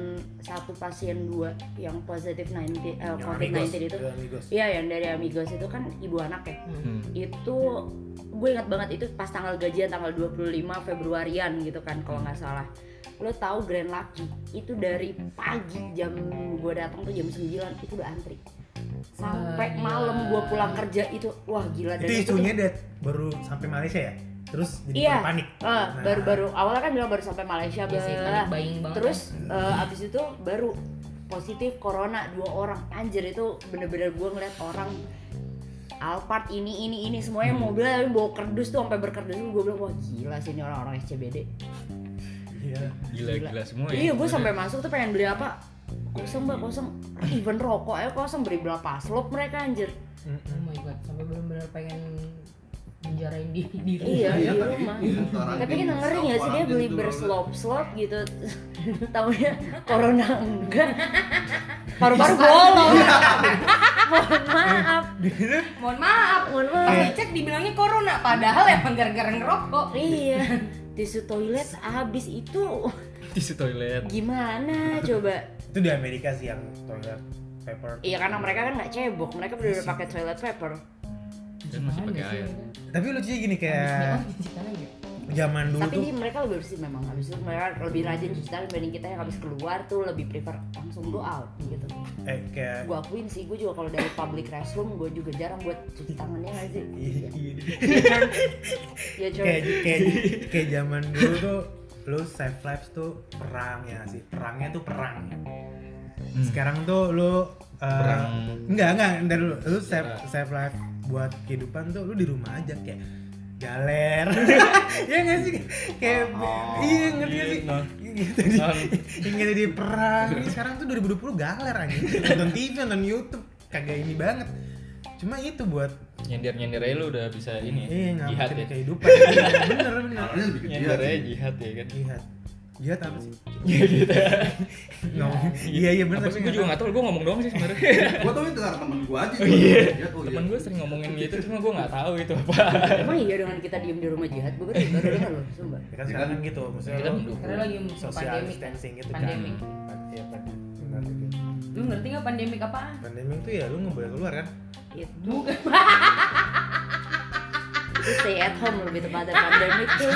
Speaker 3: satu pasien dua yang positif 19 eh, COVID-19 itu. Iya, yang dari Amigos itu kan ibu anak ya.
Speaker 1: Hmm.
Speaker 3: Itu gue ingat banget itu pas tanggal gajian tanggal 25 Februarian gitu kan kalau nggak salah. Lo tahu Grand Lucky itu dari pagi jam gue datang tuh jam 9 itu udah antri. Sampai
Speaker 4: Wah,
Speaker 3: malam
Speaker 4: gila.
Speaker 3: gue pulang kerja itu wah gila
Speaker 2: itu
Speaker 3: dan tuh-
Speaker 2: isunya deh baru sampai Malaysia ya terus jadi
Speaker 3: Iya.
Speaker 2: pada panik Nah,
Speaker 3: Ah, baru-baru awalnya kan bilang baru sampai Malaysia
Speaker 4: Iya sih,
Speaker 3: bla-
Speaker 4: panik buying banget. ya.
Speaker 3: terus eh, abis itu baru positif corona dua orang anjir itu bener-bener gue ngeliat orang Alphard ini ini ini semuanya mobilnya bawa kerdus tuh sampai berkerdus gue bilang wah gila sih ini orang-orang SCBD
Speaker 2: iya
Speaker 1: gila
Speaker 3: Gila.
Speaker 1: gila semua ya
Speaker 3: iya gue sampai masuk tuh pengen beli apa kosong mbak kosong even rokok aja kosong beri berapa slop mereka anjir
Speaker 4: Oh my god, sampai benar-benar pengen menjarain diri. diri.
Speaker 3: Iya,
Speaker 5: Iya,
Speaker 3: di
Speaker 5: tadi.
Speaker 3: rumah. Tapi kan ngeri gak sih dia beli berslop-slop gitu Taunya corona enggak Paru-paru bolong Mohon maaf
Speaker 4: Mohon maaf,
Speaker 3: Mohon
Speaker 2: Iya.
Speaker 4: pas
Speaker 3: maaf
Speaker 4: dicek dibilangnya corona, padahal emang gara-gara ngerokok.
Speaker 3: Iya Tisu toilet habis itu
Speaker 1: tisu toilet
Speaker 3: Gimana coba
Speaker 2: itu di Amerika sih yang toilet paper
Speaker 3: Iya karena mereka kan gak cebok Mereka udah pakai toilet paper
Speaker 1: dan masih pakai air
Speaker 2: tapi lucunya gini kayak
Speaker 4: Habis cuci tangan ya?
Speaker 2: zaman dulu
Speaker 3: oh. Tapi
Speaker 2: tuh
Speaker 3: ini mereka lebih bersih memang Habis itu mereka lebih rajin cuci tangan dibanding kita yang habis keluar tuh lebih prefer langsung go out gitu
Speaker 2: eh kayak
Speaker 3: gue akuin sih gue juga kalau dari public restroom gue juga jarang buat cuci tangannya nggak sih ya coba
Speaker 2: kayak kayak kayak zaman dulu tuh lu safe lives tuh perang ya nggak sih perangnya tuh perang sekarang tuh lu uh,
Speaker 1: Perang.
Speaker 2: enggak enggak entar dulu lu safe
Speaker 1: Enggak.
Speaker 2: safe life buat kehidupan tuh lu di rumah aja kayak galer ya nggak sih kayak
Speaker 5: Oh,
Speaker 2: iya ngerti nggak sih
Speaker 1: nah.
Speaker 2: gitu di, ingat jadi perang Ini sekarang tuh 2020 galer aja nonton TV nonton YouTube kagak ini banget cuma itu buat
Speaker 1: nyender nyender aja lu udah bisa
Speaker 2: iya
Speaker 1: ini jihad
Speaker 2: ngamatin
Speaker 1: ya
Speaker 2: kehidupan Iya, bener bener
Speaker 5: Soalnya kan.
Speaker 2: Iya,
Speaker 5: lebih gede
Speaker 1: nyender
Speaker 5: sih.
Speaker 1: aja jihad ya kan
Speaker 2: jihad jihad apa sih
Speaker 1: Iya, gitu.
Speaker 2: no iya iya bener
Speaker 1: Apa sih gue juga nggak tahu, gue ngomong doang sih sebenarnya.
Speaker 5: Gua tau itu karena temen gua aja.
Speaker 1: Oh, iya.
Speaker 5: Iya, oh, iya.
Speaker 1: Temen gue sering ngomongin gitu, cuma gue nggak tahu itu apa.
Speaker 3: emang iya dengan kita diem di rumah jahat gue baru baru dengar loh sumpah
Speaker 2: Ya kan
Speaker 1: Iya.
Speaker 2: sekarang kan gitu maksudnya
Speaker 1: Kita
Speaker 2: lo
Speaker 1: mendukung.
Speaker 4: Karena lagi
Speaker 1: Iya.
Speaker 2: social
Speaker 4: pandemi.
Speaker 2: distancing gitu kan
Speaker 4: Pandemi.
Speaker 2: Iya, pandemi. Benar gitu.
Speaker 4: Lu ngerti nggak pandemi apaan?
Speaker 2: pandemi tuh ya lu nggak boleh keluar kan
Speaker 3: itu
Speaker 4: Bukan.
Speaker 3: itu stay at home lebih tepatnya pandemic tuh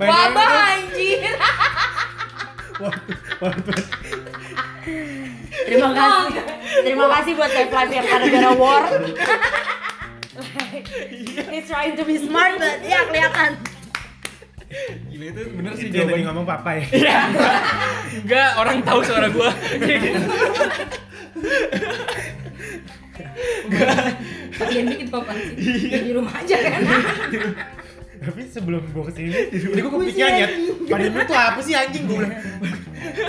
Speaker 4: Wabah anjir.
Speaker 3: terima kasih terima kasih buat Life Life yang karena gara war He's trying to be smart, but ya kelihatan.
Speaker 1: Gila itu bener sih
Speaker 2: Itu yang tadi
Speaker 1: jawabannya.
Speaker 2: ngomong papa ya
Speaker 1: Iya. Enggak, orang tahu suara gue.
Speaker 4: Pandemi itu apa sih?
Speaker 2: Iya.
Speaker 4: Ya, Di rumah aja kan.
Speaker 2: tapi sebelum gua kesini
Speaker 1: Iya.
Speaker 2: jadi gua kepikiran ya pandemi tuh apa sih anjing gua bilang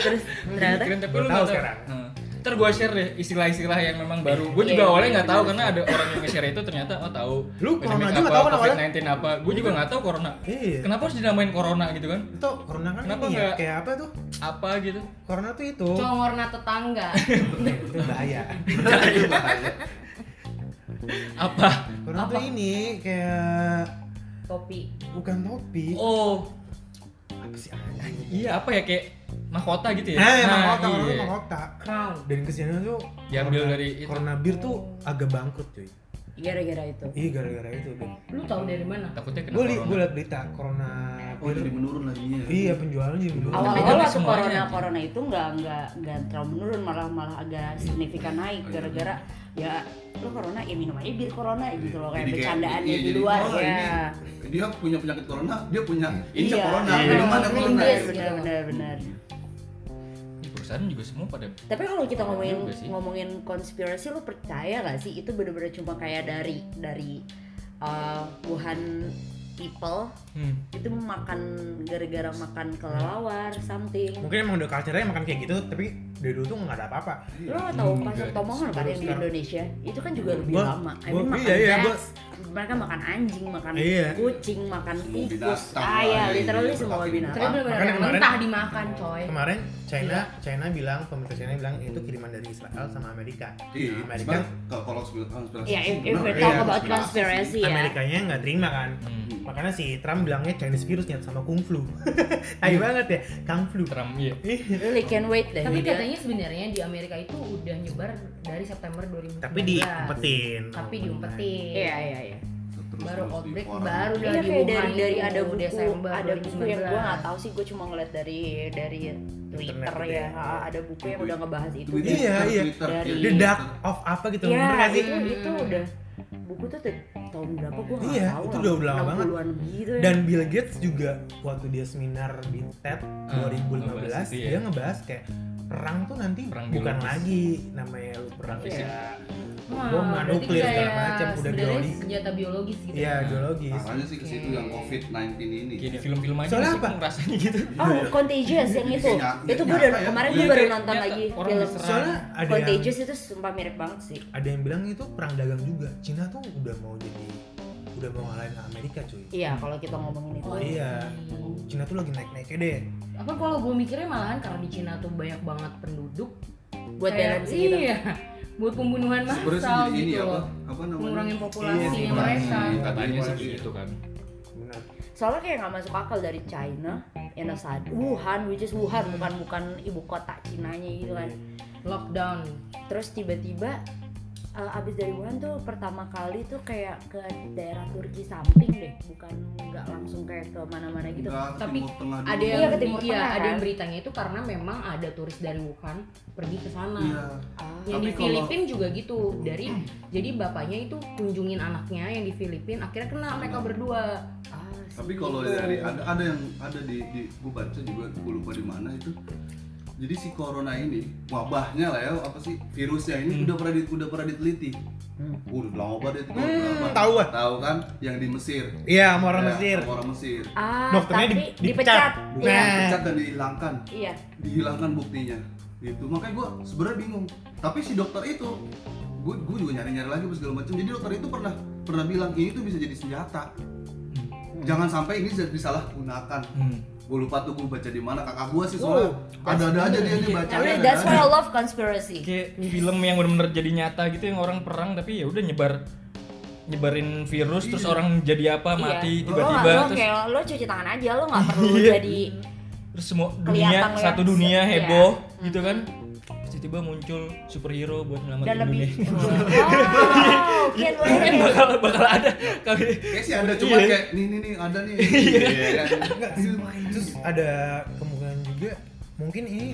Speaker 3: Terus ternyata
Speaker 1: Keren tapi
Speaker 2: Gua
Speaker 1: lu
Speaker 2: tahu
Speaker 1: nggak
Speaker 2: sekarang.
Speaker 1: Nah, Ntar gue share deh istilah-istilah yang memang baru. Gue juga
Speaker 3: Iya,
Speaker 1: awalnya
Speaker 3: iya,
Speaker 1: nggak tahu
Speaker 3: benar.
Speaker 1: karena ada orang yang nge-share itu ternyata oh tahu.
Speaker 2: Lu corona
Speaker 1: pandemic
Speaker 2: juga
Speaker 1: apa,
Speaker 2: tahu kan awalnya?
Speaker 1: COVID-19 apa? Gue juga nggak tahu corona.
Speaker 2: Iya.
Speaker 1: Kenapa harus dinamain corona gitu kan?
Speaker 2: Itu corona kan
Speaker 1: Kenapa
Speaker 2: ini ya,
Speaker 1: nggak-
Speaker 2: kayak apa tuh?
Speaker 1: Apa gitu?
Speaker 2: Corona tuh itu.
Speaker 4: Congorna tetangga.
Speaker 2: Itu bahaya.
Speaker 1: Apa?
Speaker 2: Corona tuh ini kayak
Speaker 4: Topi.
Speaker 2: bukan topi.
Speaker 1: Oh,
Speaker 2: Apa sih anjing?
Speaker 1: iya apa ya kayak mahkota gitu ya?
Speaker 2: Eh, mahkota, corona tuh
Speaker 1: iya.
Speaker 2: mahkota.
Speaker 4: Crown.
Speaker 2: Dan kesini tuh
Speaker 1: Diambil
Speaker 2: corona-
Speaker 1: dari itu.
Speaker 2: Corona bir tuh agak bangkrut cuy.
Speaker 3: gara-gara itu
Speaker 2: Iya gara-gara itu.
Speaker 4: Lu tahu dari mana?
Speaker 1: Takutnya kena
Speaker 2: Gue li-
Speaker 1: corona.
Speaker 2: gue liat berita corona
Speaker 5: Oh jadi
Speaker 2: bir.
Speaker 5: menurun laginya.
Speaker 2: Iya penjualan jadi menurun.
Speaker 1: Tapi
Speaker 3: awal-awal
Speaker 1: kan
Speaker 3: waktu
Speaker 1: semuanya.
Speaker 3: corona corona itu nggak nggak nggak terlalu menurun malah malah agak signifikan naik gara-gara ya lu corona ya minum aja bir corona gitu loh kayak
Speaker 5: Jadi
Speaker 3: bercandaan
Speaker 5: iya,
Speaker 3: ya di
Speaker 5: jadi,
Speaker 3: luar
Speaker 5: oh,
Speaker 3: ya
Speaker 5: ini dia punya penyakit corona, dia punya ini
Speaker 3: Iya,
Speaker 5: corona,
Speaker 3: iya.
Speaker 5: minumannya corona.
Speaker 3: Inggris,
Speaker 5: gitu.
Speaker 3: gitu, benar benar
Speaker 1: Di perusahaan juga semua pada
Speaker 3: tapi kalau kita
Speaker 1: Benar
Speaker 3: ngomongin
Speaker 1: juga sih.
Speaker 3: ngomongin konspirasi lu percaya gak sih itu bener-bener cuma kayak dari dari uh, Wuhan people
Speaker 1: Hmm.
Speaker 3: itu makan gara-gara makan kelelawar something
Speaker 2: Mungkin emang udah culture-nya makan kayak gitu, tapi dari dulu tuh nggak ada apa-apa.
Speaker 3: lo
Speaker 5: Iya.
Speaker 3: gak tau
Speaker 1: Hmm,
Speaker 3: pasar
Speaker 1: enggak.
Speaker 3: tomongan kan yang di
Speaker 2: Sekarang-
Speaker 3: Indonesia itu kan juga lebih
Speaker 2: Gua-
Speaker 3: lama I
Speaker 2: gua-
Speaker 3: mean, makan
Speaker 2: iya, iya,
Speaker 3: cats,
Speaker 2: gua-
Speaker 3: mereka makan anjing makan
Speaker 2: Iya.
Speaker 3: kucing makan
Speaker 5: Semua
Speaker 3: tikus
Speaker 5: binatang lah,
Speaker 3: ah ya
Speaker 5: iya,
Speaker 3: literally
Speaker 5: iya,
Speaker 3: semua
Speaker 5: berkaki.
Speaker 4: Tapi
Speaker 3: binatang
Speaker 4: benar-benar
Speaker 2: Nah, Makanya
Speaker 4: yang
Speaker 2: kemarin- Oh,
Speaker 4: mentah dimakan, coy.
Speaker 2: Kemarin China China bilang pemerintah China bilang itu kiriman dari Israel sama Amerika.
Speaker 5: Iya,
Speaker 2: Nah, Amerika
Speaker 5: sebenarnya kalau kalau sebelum konspirasi.
Speaker 3: ya if, if we
Speaker 5: sebenarnya
Speaker 3: talk
Speaker 5: ya,
Speaker 3: about
Speaker 5: konspirasi sih.
Speaker 1: Iya.
Speaker 3: conspiracy ya
Speaker 2: Amerikanya nggak terima kan.
Speaker 1: Hmm.
Speaker 2: Makanya si Trump bilangnya Chinese virus nyat sama kung flu. Tai
Speaker 1: Iya.
Speaker 2: banget ya, kung flu.
Speaker 1: Trump iya.
Speaker 3: really can wait
Speaker 2: Iya.
Speaker 3: deh gitu ya.
Speaker 4: Tapi
Speaker 3: dia.
Speaker 4: katanya sebenarnya di Amerika itu udah nyebar dari September 2019.
Speaker 2: Tapi diumpetin.
Speaker 4: Iya. Tapi diumpetin.
Speaker 3: iya iya iya
Speaker 5: Terus-terus
Speaker 4: Baru
Speaker 5: di
Speaker 4: outbreak
Speaker 5: orang.
Speaker 4: baru
Speaker 3: Iya
Speaker 4: dari
Speaker 3: kayak dari dari
Speaker 4: itu,
Speaker 3: ada buku
Speaker 4: Desember
Speaker 3: ada buku yang gue
Speaker 4: 2019.
Speaker 3: nggak tahu sih gue cuma ngeliat dari dari Twitter
Speaker 2: gitu
Speaker 3: ya
Speaker 2: ya.
Speaker 3: ha, ada buku yang udah ngebahas itu
Speaker 5: Twitter,
Speaker 2: Iya, iya.
Speaker 5: Twitter,
Speaker 3: Dari-
Speaker 2: The dark of apa gitu. bener
Speaker 3: Iya,
Speaker 2: nggak sih?
Speaker 3: itu itu udah buku tuh tuh tahun berapa gue nggak
Speaker 2: Iya,
Speaker 3: tahu
Speaker 2: itu udah lama banget.
Speaker 3: 60-an gitu ya.
Speaker 2: Dan Bill Gates juga waktu dia seminar di TED 2015
Speaker 1: Hmm, ngebahas itu ya.
Speaker 2: dia ngebahas kayak perang tuh nanti
Speaker 1: Perang
Speaker 2: bukan
Speaker 1: biologis.
Speaker 2: lagi namanya lu perang
Speaker 3: Iya.
Speaker 2: kayak
Speaker 4: Wah,
Speaker 2: bom
Speaker 4: berarti
Speaker 2: nuklir segala
Speaker 4: kayak
Speaker 2: macam udah
Speaker 4: sebenarnya
Speaker 2: biologis.
Speaker 4: senjata biologis gitu.
Speaker 2: Iya, biologis.
Speaker 5: Arahnya sih ke situ yang COVID-19 ini.
Speaker 1: Kayak di film-film aja
Speaker 2: Soalnya
Speaker 1: sih,
Speaker 2: apa?
Speaker 1: rasanya gitu.
Speaker 3: Oh, Contagious yang itu.
Speaker 5: Iya,
Speaker 3: itu
Speaker 5: iya,
Speaker 3: gue udah
Speaker 5: iya.
Speaker 3: kemarin
Speaker 1: Iya,
Speaker 3: gue baru
Speaker 1: kayak
Speaker 3: nonton
Speaker 1: nyata
Speaker 3: lagi
Speaker 1: orang
Speaker 3: film
Speaker 1: diserang.
Speaker 2: Soalnya ada yang
Speaker 3: Contagious itu sumpah mirip banget sih.
Speaker 2: ada yang bilang itu perang dagang juga. Cina tuh udah mau jadi udah mau ngalahin Amerika cuy.
Speaker 3: Iya, kalau kita ngomongin itu.
Speaker 4: Oh,
Speaker 2: Iya.
Speaker 4: iya.
Speaker 2: Cina tuh lagi naik-naiknya deh.
Speaker 4: apa kalau gue mikirnya malahan karena di Cina tuh banyak banget penduduk
Speaker 3: Buat
Speaker 4: kayak-
Speaker 3: balance gitu.
Speaker 4: iya buat pembunuhan
Speaker 5: Sebenarnya
Speaker 4: massal
Speaker 5: sih ini
Speaker 4: gitu
Speaker 5: apa?
Speaker 4: loh
Speaker 5: Apa namanya?
Speaker 4: mengurangi populasinya
Speaker 2: Iya,
Speaker 4: mereka
Speaker 2: mengurangi.
Speaker 1: Nah, hmm, Katanya sih
Speaker 5: Iya.
Speaker 1: gitu kan.
Speaker 2: Benar.
Speaker 3: Soalnya kayak nggak masuk akal dari China, yang asal Wuhan, which is Wuhan bukan bukan ibu kota Cinanya gitu kan.
Speaker 4: lockdown
Speaker 3: Terus tiba-tiba eh, abis dari Wuhan tuh pertama kali tuh kayak ke daerah Turki samping deh, bukan nggak langsung kayak ke mana-mana gitu.
Speaker 5: Enggak,
Speaker 4: Tapi
Speaker 5: Timur Tengah dulu.
Speaker 4: ada
Speaker 3: Iya,
Speaker 4: yang
Speaker 3: ke Timur
Speaker 4: iya,
Speaker 3: Tengah,
Speaker 4: ada yang
Speaker 3: kan?
Speaker 4: beritanya itu karena memang ada turis dari Wuhan pergi ke sana
Speaker 5: Iya.
Speaker 3: Ah.
Speaker 4: yang
Speaker 5: Tapi
Speaker 4: di
Speaker 5: kalau-
Speaker 4: Filipina juga gitu dari jadi bapaknya itu kunjungin anaknya yang di Filipina akhirnya kena mereka berdua
Speaker 3: Ah,
Speaker 5: Tapi
Speaker 3: sih.
Speaker 5: kalau dari ada ada yang ada di, di gue baca juga gue lupa di mana itu. Jadi si corona ini wabahnya lah ya apa sih virusnya
Speaker 2: Hmm.
Speaker 5: ini udah pernah di, udah pernah diteliti. Udah lama banget itu.
Speaker 2: Hmm,
Speaker 5: berapa?
Speaker 2: tahu ah.
Speaker 5: Tahu kan yang di Mesir.
Speaker 2: Iya, sama orang
Speaker 5: Ya,
Speaker 2: Mesir.
Speaker 5: sama Orang Mesir.
Speaker 3: Ah,
Speaker 2: Dokternya
Speaker 3: tapi
Speaker 2: di-
Speaker 3: dipecat.
Speaker 2: dipecat.
Speaker 3: Iya.
Speaker 2: Nah.
Speaker 5: Dipecat dan dihilangkan.
Speaker 3: Iya.
Speaker 5: dihilangkan buktinya gitu makanya gue sebenarnya bingung tapi si dokter itu gue gue juga nyari nyari lagi apa segala macam jadi dokter itu pernah pernah bilang ini tuh bisa jadi senjata jangan sampai ini jadi disalahgunakan
Speaker 1: Hmm.
Speaker 5: gue lupa tuh gue baca di mana kakak gue sih soalnya ada ada aja dia nih baca
Speaker 3: Really, Iya, that's why I love conspiracy.
Speaker 1: Kayak film yang benar-benar jadi nyata gitu yang orang perang tapi ya udah nyebar nyebarin virus terus orang jadi apa mati tiba-tiba
Speaker 3: Iya. lo, lo
Speaker 1: terus
Speaker 3: Oh, kayak lo cuci tangan aja lo nggak perlu
Speaker 1: Iya.
Speaker 3: jadi
Speaker 1: terus semua
Speaker 3: Kelihatan
Speaker 1: dunia
Speaker 3: lo
Speaker 1: satu
Speaker 3: yang-
Speaker 1: dunia
Speaker 3: iya.
Speaker 1: heboh gitu kan Terus tiba-tiba muncul superhero buat
Speaker 3: dan
Speaker 1: nyelamatin
Speaker 3: lebih
Speaker 1: dunia
Speaker 3: wow can
Speaker 1: mungkin
Speaker 3: wait.
Speaker 1: bakal bakal ada kali
Speaker 5: kayak sih ada cuma
Speaker 1: Iya.
Speaker 5: kayak nih nih nih ada nih Iya kan?
Speaker 2: Terus ada kemungkinan juga mungkin ini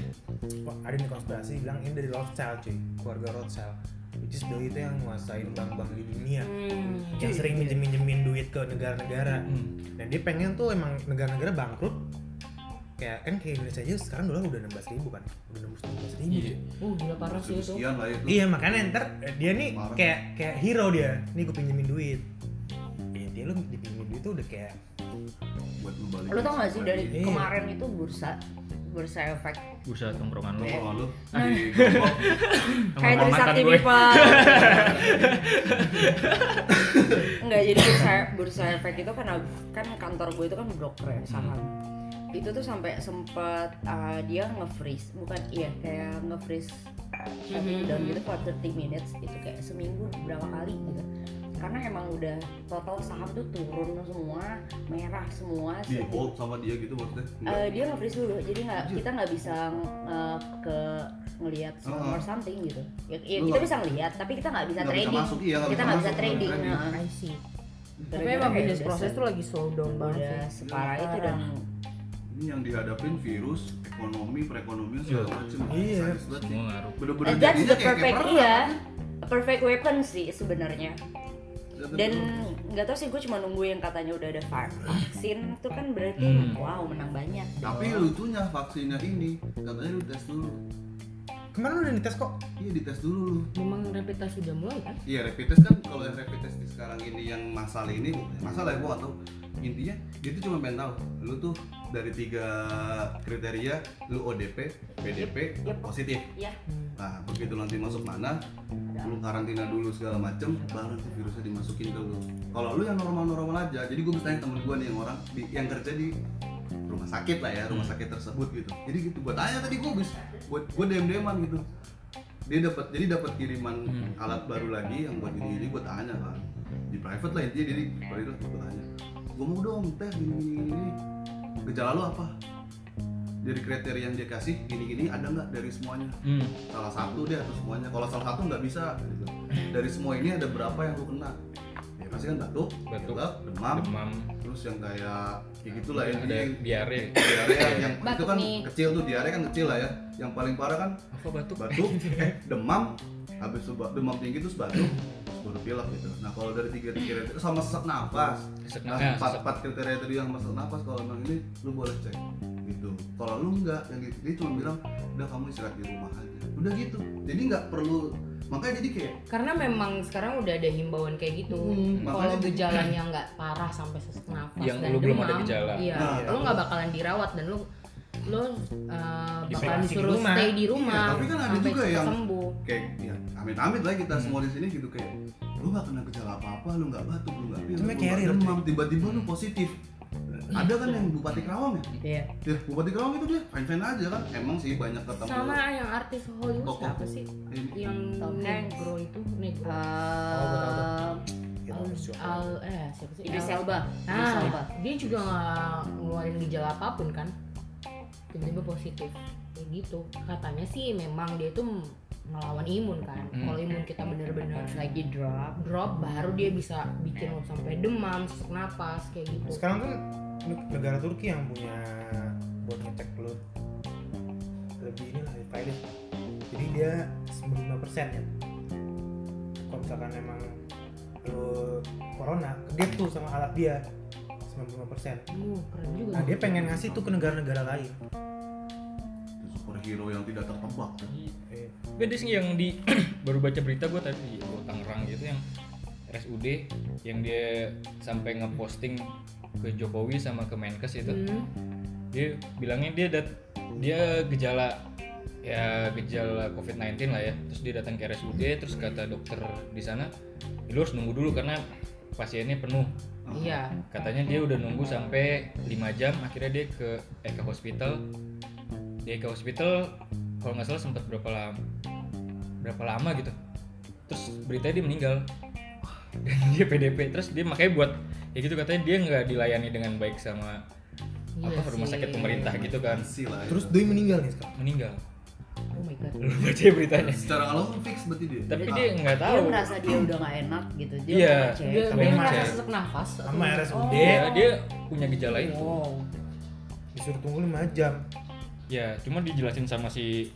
Speaker 2: wah, ada nih konspirasi bilang ini dari Rothschild cuy, keluarga Rothschild. Which is doi itu yang nguasain bank-bank di dunia. Yang sering minjem-minjemin duit ke negara-negara.
Speaker 1: Hmm.
Speaker 2: Dan dia pengen tuh emang negara-negara bangkrut. Kayak kan kayak Indonesia aja sekarang dolar udah 16 ribu kan. Udah nembus 16 ribu.
Speaker 1: Iya.
Speaker 4: uh gila parah sih itu
Speaker 5: sekian lah ya itu
Speaker 2: Iya makanya ntar eh, dia nih
Speaker 5: Marah.
Speaker 2: kayak kayak hero dia. Nih gue pinjemin duit. Ya dia lu dipinjemin duit tuh udah kayak
Speaker 5: buat ngebalikin
Speaker 3: lo tau gak sih dari
Speaker 2: Iya.
Speaker 3: kemarin itu bursa bursa efek
Speaker 1: Bursa tongkrongan lu.
Speaker 5: Nongkrong Iya. Oh, lu
Speaker 3: Nah.
Speaker 5: di Bangkok.
Speaker 3: kayak
Speaker 1: Sama mantan
Speaker 3: Trisakti
Speaker 1: gue.
Speaker 3: people nggak jadi bursa bursa efek itu karena kan kantor gue itu kan broker ya saham
Speaker 1: Hmm.
Speaker 3: itu tuh sampai sempet uh, dia nge-freeze bukan iya kayak nge-freeze
Speaker 1: Hmm.
Speaker 3: tapi
Speaker 4: Mhm.
Speaker 3: down gitu for 30 minutes itu kayak seminggu berapa kali gitu karena emang udah total saham tuh turun semua merah semua
Speaker 5: Di
Speaker 1: Iya.
Speaker 3: sedikit.
Speaker 5: hold sama dia gitu maksudnya. Enggak.
Speaker 3: Eh, dia nge-freeze dulu, jadi nggak
Speaker 5: Anjir.
Speaker 3: kita nggak bisa eh, ke ngelihat
Speaker 5: Oh.
Speaker 3: nomor something gitu. Ya, ya kita
Speaker 5: Lu nggak-
Speaker 3: bisa ngelihat, tapi kita nggak bisa
Speaker 5: Nggak bisa
Speaker 3: trading.
Speaker 5: masuk, iya, nggak
Speaker 3: kita
Speaker 5: bisa
Speaker 3: nggak bisa
Speaker 5: masuk, nggak bisa
Speaker 3: trading.
Speaker 5: trading.
Speaker 3: nah,
Speaker 4: I see. Tapi
Speaker 3: gara-gara
Speaker 4: emang
Speaker 3: kayak
Speaker 4: bisnis
Speaker 3: udah
Speaker 4: proses
Speaker 3: se-
Speaker 4: tuh lagi slow
Speaker 5: Iya.
Speaker 4: down
Speaker 3: udah
Speaker 4: banget sih.
Speaker 3: separah itu dan
Speaker 5: Ini yang dihadapin virus, ekonomi, perekonomian segala
Speaker 1: Iya.
Speaker 5: macem.
Speaker 2: Iya.
Speaker 5: Serius banget sih.
Speaker 1: Semua ngaruh.
Speaker 5: Bener-bener
Speaker 3: Eh, that's
Speaker 5: jadinya
Speaker 3: the
Speaker 5: kayak- kayak
Speaker 3: perfect
Speaker 5: perang.
Speaker 3: iya, a perfect weapon sih sebenarnya. Dan nggak tau sih gue cuma nunggu yang katanya udah ada var- vaksin tuh kan berarti
Speaker 1: Hmm.
Speaker 3: wow menang banyak.
Speaker 5: tapi lucunya vaksinnya ini katanya lu tes dulu.
Speaker 2: Kemarin udah dites kok.
Speaker 5: Iya dites dulu lu.
Speaker 4: Memang rapid test sudah mulai kan?
Speaker 5: Iya rapid test kan kalau yang rapid test di sekarang ini yang masalah ini masalah ya gua atau intinya dia tuh cuma pengen tahu lu tuh dari tiga kriteria lu ODP, PDP,
Speaker 3: Yep.
Speaker 5: positif.
Speaker 3: Iya.
Speaker 5: Nah begitu nanti masuk mana lu karantina dulu segala macem baru nanti virusnya dimasukin ke lu. Kalau lu yang normal-normal aja, jadi gue bisa tanya temen gua nih yang orang di- yang kerja di rumah sakit lah ya rumah sakit tersebut gitu. Jadi gitu buat tanya tadi gue bis buat gue dem deman gitu dia dapat jadi dapat kiriman
Speaker 1: Hmm.
Speaker 5: alat baru lagi yang buat ini ini buat tanya kan di private lah intinya jadi baru itu gue tanya gue mau dong tes gini gini gini gejala lo apa dari kriteria yang dia kasih gini gini ada nggak dari semuanya
Speaker 1: Hmm.
Speaker 5: salah satu deh atau semuanya kalau salah satu nggak bisa gitu. dari semua ini ada berapa yang lu kena ya pasti kan batuk,
Speaker 1: Batuk,
Speaker 5: pilek, demam,
Speaker 1: Demam.
Speaker 5: terus yang kayak ya gitulah ya
Speaker 1: Ada
Speaker 5: intinya
Speaker 1: diare.
Speaker 5: diare yang itu
Speaker 4: Batuk
Speaker 5: kan
Speaker 4: nih.
Speaker 5: kecil tuh diare kan kecil lah ya yang paling parah kan
Speaker 1: Apa batuk?
Speaker 5: batuk, eh, demam, habis itu ba- demam tinggi terus batuk, terus baru pilek gitu. Nah kalau dari tiga tiga itu sama sesak nafas,
Speaker 1: Sesak
Speaker 5: nah
Speaker 1: nafas.
Speaker 2: Ya,
Speaker 5: empat empat kriteria tadi yang sesak nafas kalau emang ini lu boleh cek gitu. Kalau lu nggak, yang di- dia cuma bilang udah kamu istirahat di rumah aja. Udah gitu, jadi nggak perlu makanya jadi kayak
Speaker 4: Karena memang sekarang udah ada himbauan kayak gitu.
Speaker 5: Hmm,
Speaker 4: Kalau
Speaker 5: makanya-
Speaker 4: gejalanya nggak parah sampai sesak nafas
Speaker 1: Yang
Speaker 4: dan
Speaker 1: lu belum
Speaker 4: demam,
Speaker 1: ada gejala.
Speaker 4: Iya,
Speaker 5: Nah,
Speaker 4: lo nggak bakalan dirawat dan lo lo uh,
Speaker 2: Isolasi
Speaker 4: bakalan
Speaker 2: di
Speaker 4: disuruh
Speaker 2: rumah.
Speaker 4: stay di rumah.
Speaker 5: Iya, tapi kan ada
Speaker 4: sampai
Speaker 5: juga yang-
Speaker 4: sembuh.
Speaker 5: kayak ya amit-amit lah
Speaker 2: Hmm.
Speaker 5: kita semua di sini gitu kayak lu nggak kena gejala apa-apa, lu nggak batuk, lu nggak pilek, lu
Speaker 2: Cuma Hmm.
Speaker 5: nggak
Speaker 2: carrier,
Speaker 5: demam, tiba-tiba lu positif. Ada kan yang Bupati Karawang ya?
Speaker 3: Iya.
Speaker 5: Ya, Bupati Karawang itu dia fine-fine aja kan. Emang sih banyak ketemu
Speaker 4: Sama yang artis Hollywood
Speaker 5: Koko.
Speaker 4: apa sih?
Speaker 5: ini
Speaker 4: Yang
Speaker 3: Tom Hanks.
Speaker 4: negro itu negro.
Speaker 3: Eh,
Speaker 2: Gitu, harus
Speaker 4: Al,
Speaker 2: coba.
Speaker 4: Al- eh siapa sih?
Speaker 3: Idris
Speaker 4: Al-
Speaker 3: Elba. Idris
Speaker 4: Nah,
Speaker 3: Elba.
Speaker 4: dia juga nggak ngeluarin gejala apapun kan tiba-tiba positif kayak gitu katanya sih memang dia itu m- melawan imun kan
Speaker 1: Hmm.
Speaker 4: kalau imun kita bener-bener
Speaker 3: Lagi drop.
Speaker 4: drop baru dia bisa bikin lo sampai demam sesak napas kayak gitu
Speaker 2: Sekarang kan negara Turki yang punya buat ngecek lu lebih ini lah pilot. Jadi dia 95 persen ya. Kalau misalkan emang lu corona, dia tuh sama alat dia 95 persen.
Speaker 4: Uh, keren juga
Speaker 2: Nah dia pengen ngasih tuh ke negara-negara lain.
Speaker 5: superhero yang tidak tertebak.
Speaker 2: Eh,
Speaker 1: Beda sih yang di baru baca berita gue tadi di Tangerang gitu yang RSUD yang dia sampai ngeposting ke Jokowi sama ke Menkes itu.
Speaker 4: Hmm,
Speaker 1: dia bilangnya dia dat dia gejala ya gejala COVID-19 lah ya terus dia datang ke RSUD terus kata dokter di sana lu harus nunggu dulu karena pasiennya penuh
Speaker 4: iya
Speaker 1: katanya dia udah nunggu sampai 5 jam akhirnya dia ke eh, ke hospital dia ke hospital kalau nggak salah sempat berapa lama berapa lama gitu terus beritanya dia meninggal dan dia PDP terus dia makanya buat ya gitu katanya dia nggak dilayani dengan baik sama
Speaker 4: Iya
Speaker 1: apa rumah
Speaker 4: sih.
Speaker 1: sakit pemerintah gitu kan
Speaker 5: Ansi lah. ya.
Speaker 2: Terus Doi meninggal nih sekarang.
Speaker 1: meninggal
Speaker 4: oh my god
Speaker 1: lu baca beritanya
Speaker 5: secara kalau fix berarti dia.
Speaker 1: tapi
Speaker 5: Ah,
Speaker 1: dia nggak
Speaker 3: Dia
Speaker 1: tahu
Speaker 3: merasa dia udah nggak enak gitu. Dia
Speaker 1: Iya.
Speaker 3: udah ngecek.
Speaker 4: dia,
Speaker 1: Sampai
Speaker 4: dia
Speaker 2: macet.
Speaker 4: ngerasa sesak nafas
Speaker 2: Sama RSUD
Speaker 1: dia dia punya gejala itu
Speaker 3: Oh,
Speaker 4: wow
Speaker 2: disuruh tunggu 5 jam.
Speaker 1: ya cuma dijelasin sama si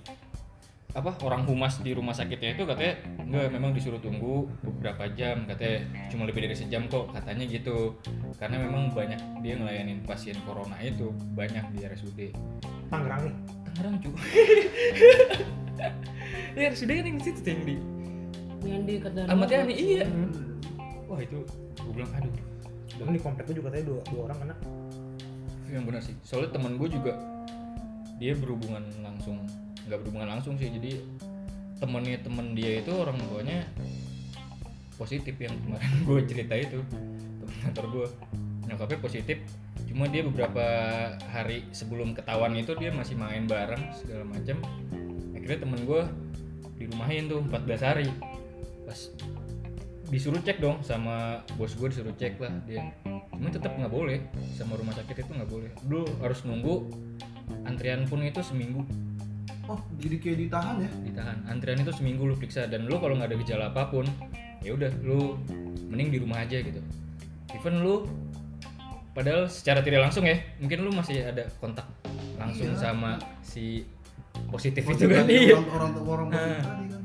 Speaker 1: apa orang humas di rumah sakitnya itu katanya nggak memang disuruh tunggu beberapa jam katanya cuma lebih dari sejam kok katanya gitu karena memang banyak dia ngelayanin pasien corona itu banyak di RSUD
Speaker 2: Tangerang nih.
Speaker 1: Tangerang cu di RSUD kan yang di situ tuh, yang di
Speaker 4: yang di kedai
Speaker 1: Ahmad Yani
Speaker 4: roti.
Speaker 1: iya wah itu gue bilang aduh
Speaker 2: Dan di komplek gue juga katanya dua, dua orang kena.
Speaker 1: Iya, yang benar sih soalnya teman gue juga dia berhubungan langsung nggak berhubungan langsung sih jadi temennya temen dia itu orang tuanya positif yang kemarin gue cerita itu temen kantor gue nyokapnya positif cuma dia beberapa hari sebelum ketahuan itu dia masih main bareng segala macam akhirnya temen gue dirumahin tuh 14 hari pas disuruh cek dong sama bos gue disuruh cek lah dia cuma tetap nggak boleh sama rumah sakit itu nggak boleh lu harus nunggu antrian pun itu seminggu
Speaker 5: oh jadi kayak ditahan ya
Speaker 1: ditahan antrian itu seminggu lu periksa dan lu kalau nggak ada gejala apapun ya udah lu mending di rumah aja gitu even lu padahal secara tidak langsung ya mungkin lu masih ada kontak langsung
Speaker 5: Iya.
Speaker 1: sama si positif
Speaker 5: Orang
Speaker 1: itu kan
Speaker 5: tadi,
Speaker 1: iya
Speaker 5: orang orang orang
Speaker 1: Nah.
Speaker 5: tadi kan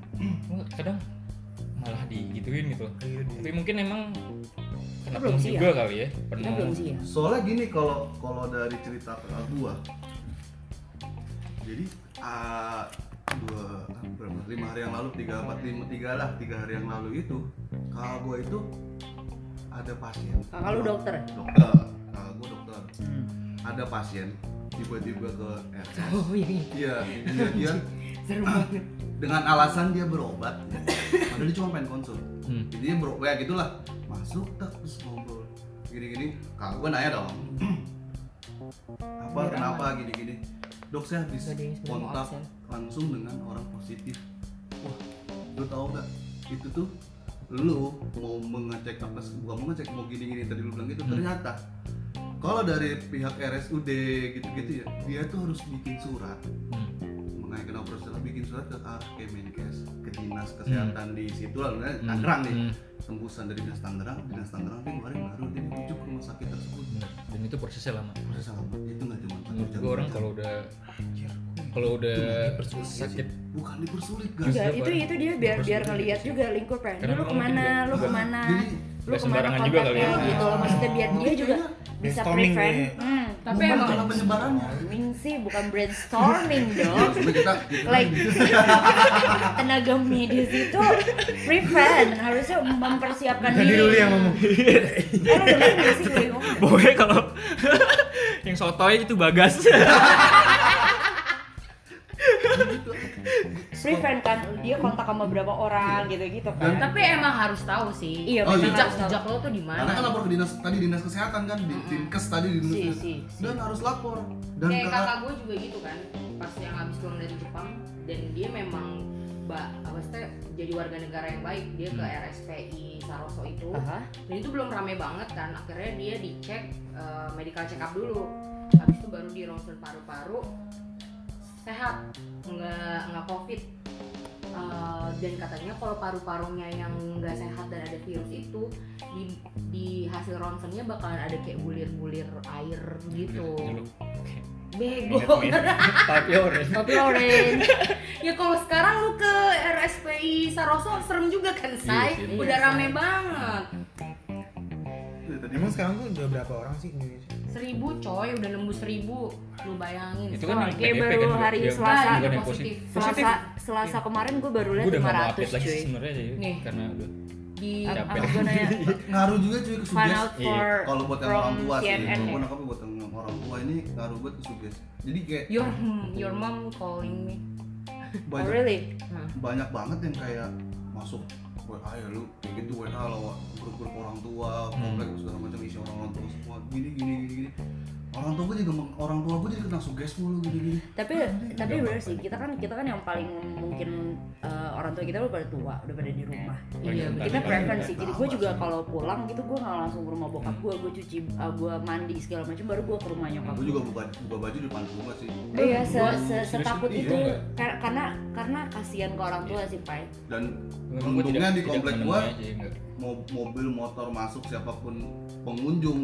Speaker 1: Gua kadang malah digituin gitu loh.
Speaker 2: Iya,
Speaker 1: tapi
Speaker 2: di-
Speaker 1: mungkin emang kena
Speaker 3: belum
Speaker 1: belum
Speaker 3: siap.
Speaker 1: juga kali ya
Speaker 3: Kita
Speaker 1: penuh
Speaker 3: belum sih ya.
Speaker 5: soalnya gini kalau kalau dari cerita kakak gua jadi ah, dua ah, berapa lima hari yang lalu tiga empat lima tiga lah tiga hari yang lalu itu kakak gua itu ada pasien
Speaker 3: Kakak lu Nah, dokter?
Speaker 5: dokter kakak gua dokter
Speaker 1: Hmm.
Speaker 5: ada pasien tiba-tiba ke RS
Speaker 4: Oh ini
Speaker 5: iya dia, dia
Speaker 4: seru banget.
Speaker 5: dengan alasan dia berobat ya. padahal dia cuma pengen konsul
Speaker 1: Hmm.
Speaker 5: jadi dia berobat ya gitulah masuk tak terus ngobrol gini-gini kak gue nanya dong apa
Speaker 4: Biar
Speaker 5: kenapa gini-gini dok saya habis
Speaker 4: Gak ada yang sebenarnya mau
Speaker 5: kontak
Speaker 4: absen.
Speaker 5: langsung dengan orang positif wah lu tau nggak itu tuh lu mau mengecek apa sih? bukan mau ngecek mau gini-gini tadi lu bilang gitu
Speaker 1: Hmm.
Speaker 5: ternyata kalau dari pihak RSUD gitu-gitu ya dia tuh harus bikin surat
Speaker 1: Hmm.
Speaker 5: mengenai operasi salah bikin surat ke arah Kemenkes ke dinas kesehatan di situ lah nah, Tangerang nih
Speaker 1: Hmm.
Speaker 5: tembusan dari dinas Tangerang dinas Tangerang dia kemarin baru dia dirujuk ke rumah sakit tersebut
Speaker 1: Bener. dan itu prosesnya lama
Speaker 5: proses lama itu nggak cuma satu
Speaker 1: Hmm. menurut
Speaker 5: jam, Iya
Speaker 1: gue
Speaker 5: dua
Speaker 1: orang
Speaker 5: jam.
Speaker 1: kalau udah
Speaker 2: Anjir, gua-
Speaker 1: kalau udah
Speaker 2: Dipersulit sih.
Speaker 1: sakit
Speaker 5: bukan dipersulit guys
Speaker 4: Iya,
Speaker 3: Enggak, itu itu dia biar biar
Speaker 1: Dipersulit
Speaker 3: ngelihat
Speaker 1: sih.
Speaker 3: juga lingkupnya.
Speaker 1: Karena
Speaker 3: Lu
Speaker 1: memang
Speaker 3: kemana,
Speaker 1: mungkin
Speaker 3: lu
Speaker 1: juga-
Speaker 3: kemana,
Speaker 5: jadi
Speaker 3: lu
Speaker 1: Nggak
Speaker 3: kemana
Speaker 1: sembarangan juga kali
Speaker 3: kontaknya
Speaker 1: ya. Iya,
Speaker 3: gitu loh. Maksudnya biar dia
Speaker 5: Mungkin
Speaker 3: juga
Speaker 5: kayaknya
Speaker 3: bisa
Speaker 2: brainstorming
Speaker 3: prevent.
Speaker 2: nih.
Speaker 3: Hmm.
Speaker 4: Tapi
Speaker 5: momen
Speaker 4: emang
Speaker 5: dalam penyebarannya
Speaker 3: Brainstorming sih bukan brainstorming dong.
Speaker 5: Coba kita kita
Speaker 3: Like tenaga medis itu prevent harusnya mempersiapkan
Speaker 2: Tadi
Speaker 3: diri.
Speaker 2: dulu yang ngomong.
Speaker 3: Eh, lu dengerin nggak sih gue ngomong?
Speaker 1: Pokoknya kalau yang sotoy itu bagas.
Speaker 3: Prevent kan dia kontak sama berapa orang gitu-gitu kan.
Speaker 4: Tapi emang harus tahu sih.
Speaker 3: Iya,
Speaker 5: Oh,
Speaker 3: memang
Speaker 5: iya.
Speaker 4: Jejak
Speaker 3: harus tahu.
Speaker 4: jejak lo tuh di
Speaker 5: karena kan
Speaker 4: mana?
Speaker 5: lapor ke dinas tadi dinas kesehatan kan di dinkes tadi di dinas
Speaker 3: Si,
Speaker 5: kesehatan.
Speaker 3: si, si.
Speaker 5: dan harus lapor dan
Speaker 4: Kayak
Speaker 5: kakak
Speaker 4: kakak gue juga gitu kan. Pas yang habis pulang dari Jepang dan dia memang mbak apa sih teh, jadi warga negara yang baik dia ke
Speaker 5: Hmm.
Speaker 4: RSPI Saroso itu
Speaker 3: Aha.
Speaker 4: dan itu belum rame banget kan akhirnya dia dicek eh, medical check up dulu habis itu baru di ronsen paru-paru sehat nggak nggak covid Eh, dan katanya kalau paru-parunya yang nggak sehat dan ada virus itu di, di hasil ronsennya bakalan ada kayak bulir-bulir air gitu
Speaker 1: Iya,
Speaker 4: bego
Speaker 1: Tapi orange.
Speaker 4: tapi orange ya kalau sekarang lu ke RSPI Saroso serem juga kan
Speaker 1: Iya
Speaker 4: say
Speaker 1: sih.
Speaker 4: udah rame banget
Speaker 5: Ya, tadi
Speaker 2: Emang sekarang tuh udah berapa orang sih Indonesia?
Speaker 4: seribu coy udah nembus seribu lu bayangin
Speaker 1: Itu kan yang
Speaker 3: Kayak
Speaker 4: coy.
Speaker 1: PDP
Speaker 3: baru
Speaker 1: kan juga.
Speaker 3: hari
Speaker 1: Dia-
Speaker 3: Selasa.
Speaker 1: bukan yang
Speaker 4: Positif.
Speaker 1: positif.
Speaker 3: Selasa Selasa kemarin gue baru
Speaker 1: Gue
Speaker 3: lihat
Speaker 1: udah nggak mau
Speaker 3: 500
Speaker 1: update lagi sih
Speaker 3: cuy.
Speaker 1: sebenarnya sih
Speaker 4: Nih.
Speaker 1: karena udah
Speaker 4: di
Speaker 1: Capek.
Speaker 3: Apa gue nanya
Speaker 5: ngaruh juga cuy ke
Speaker 3: find
Speaker 5: sugesti.
Speaker 3: out
Speaker 1: Iya.
Speaker 3: for
Speaker 5: kalau buat yang
Speaker 3: from
Speaker 5: orang tua sih
Speaker 3: CNN
Speaker 5: walaupun
Speaker 3: ya?
Speaker 5: aku buat yang orang tua ini ngaruh buat ke sugesti jadi kayak
Speaker 4: your hmm, your mom calling me
Speaker 3: Oh,
Speaker 5: banyak
Speaker 3: really?
Speaker 1: Nah.
Speaker 5: banyak banget yang kayak masuk WA ya lu kayak gitu WA lah Wak. grup-grup orang tua komplek segala macam isi orang orang tua semua gini gini gini gini orang tua gue juga meng- orang tua gue jadi kena sugesti mulu gini gini
Speaker 3: Tapi
Speaker 1: Iya,
Speaker 3: tapi bener sih kita kan kita kan yang paling mungkin eh, orang tua kita udah pada tua udah pada di rumah.
Speaker 1: Tadi
Speaker 4: Iya,
Speaker 3: Kita
Speaker 1: kan
Speaker 3: preference
Speaker 1: juga.
Speaker 3: sih. Jadi gue juga kalau pulang gitu gue nggak langsung ke rumah bokap gue, gue cuci, eh, gue mandi segala macam baru gue ke rumah nyokap.
Speaker 5: gue juga buka buka baju di depan rumah sih gitu,
Speaker 3: Iya, se
Speaker 1: Gua-
Speaker 3: se- setakut
Speaker 1: serius,
Speaker 3: itu
Speaker 1: iya, nggak?
Speaker 3: kar- karena karena kasihan ke orang tua sih pai.
Speaker 5: dan
Speaker 1: Memang gua tidak-
Speaker 5: Untungnya di
Speaker 1: tidak
Speaker 5: komplek
Speaker 1: menemui
Speaker 5: gua.
Speaker 1: aja, nggak.
Speaker 5: mo- mobil motor masuk siapapun pengunjung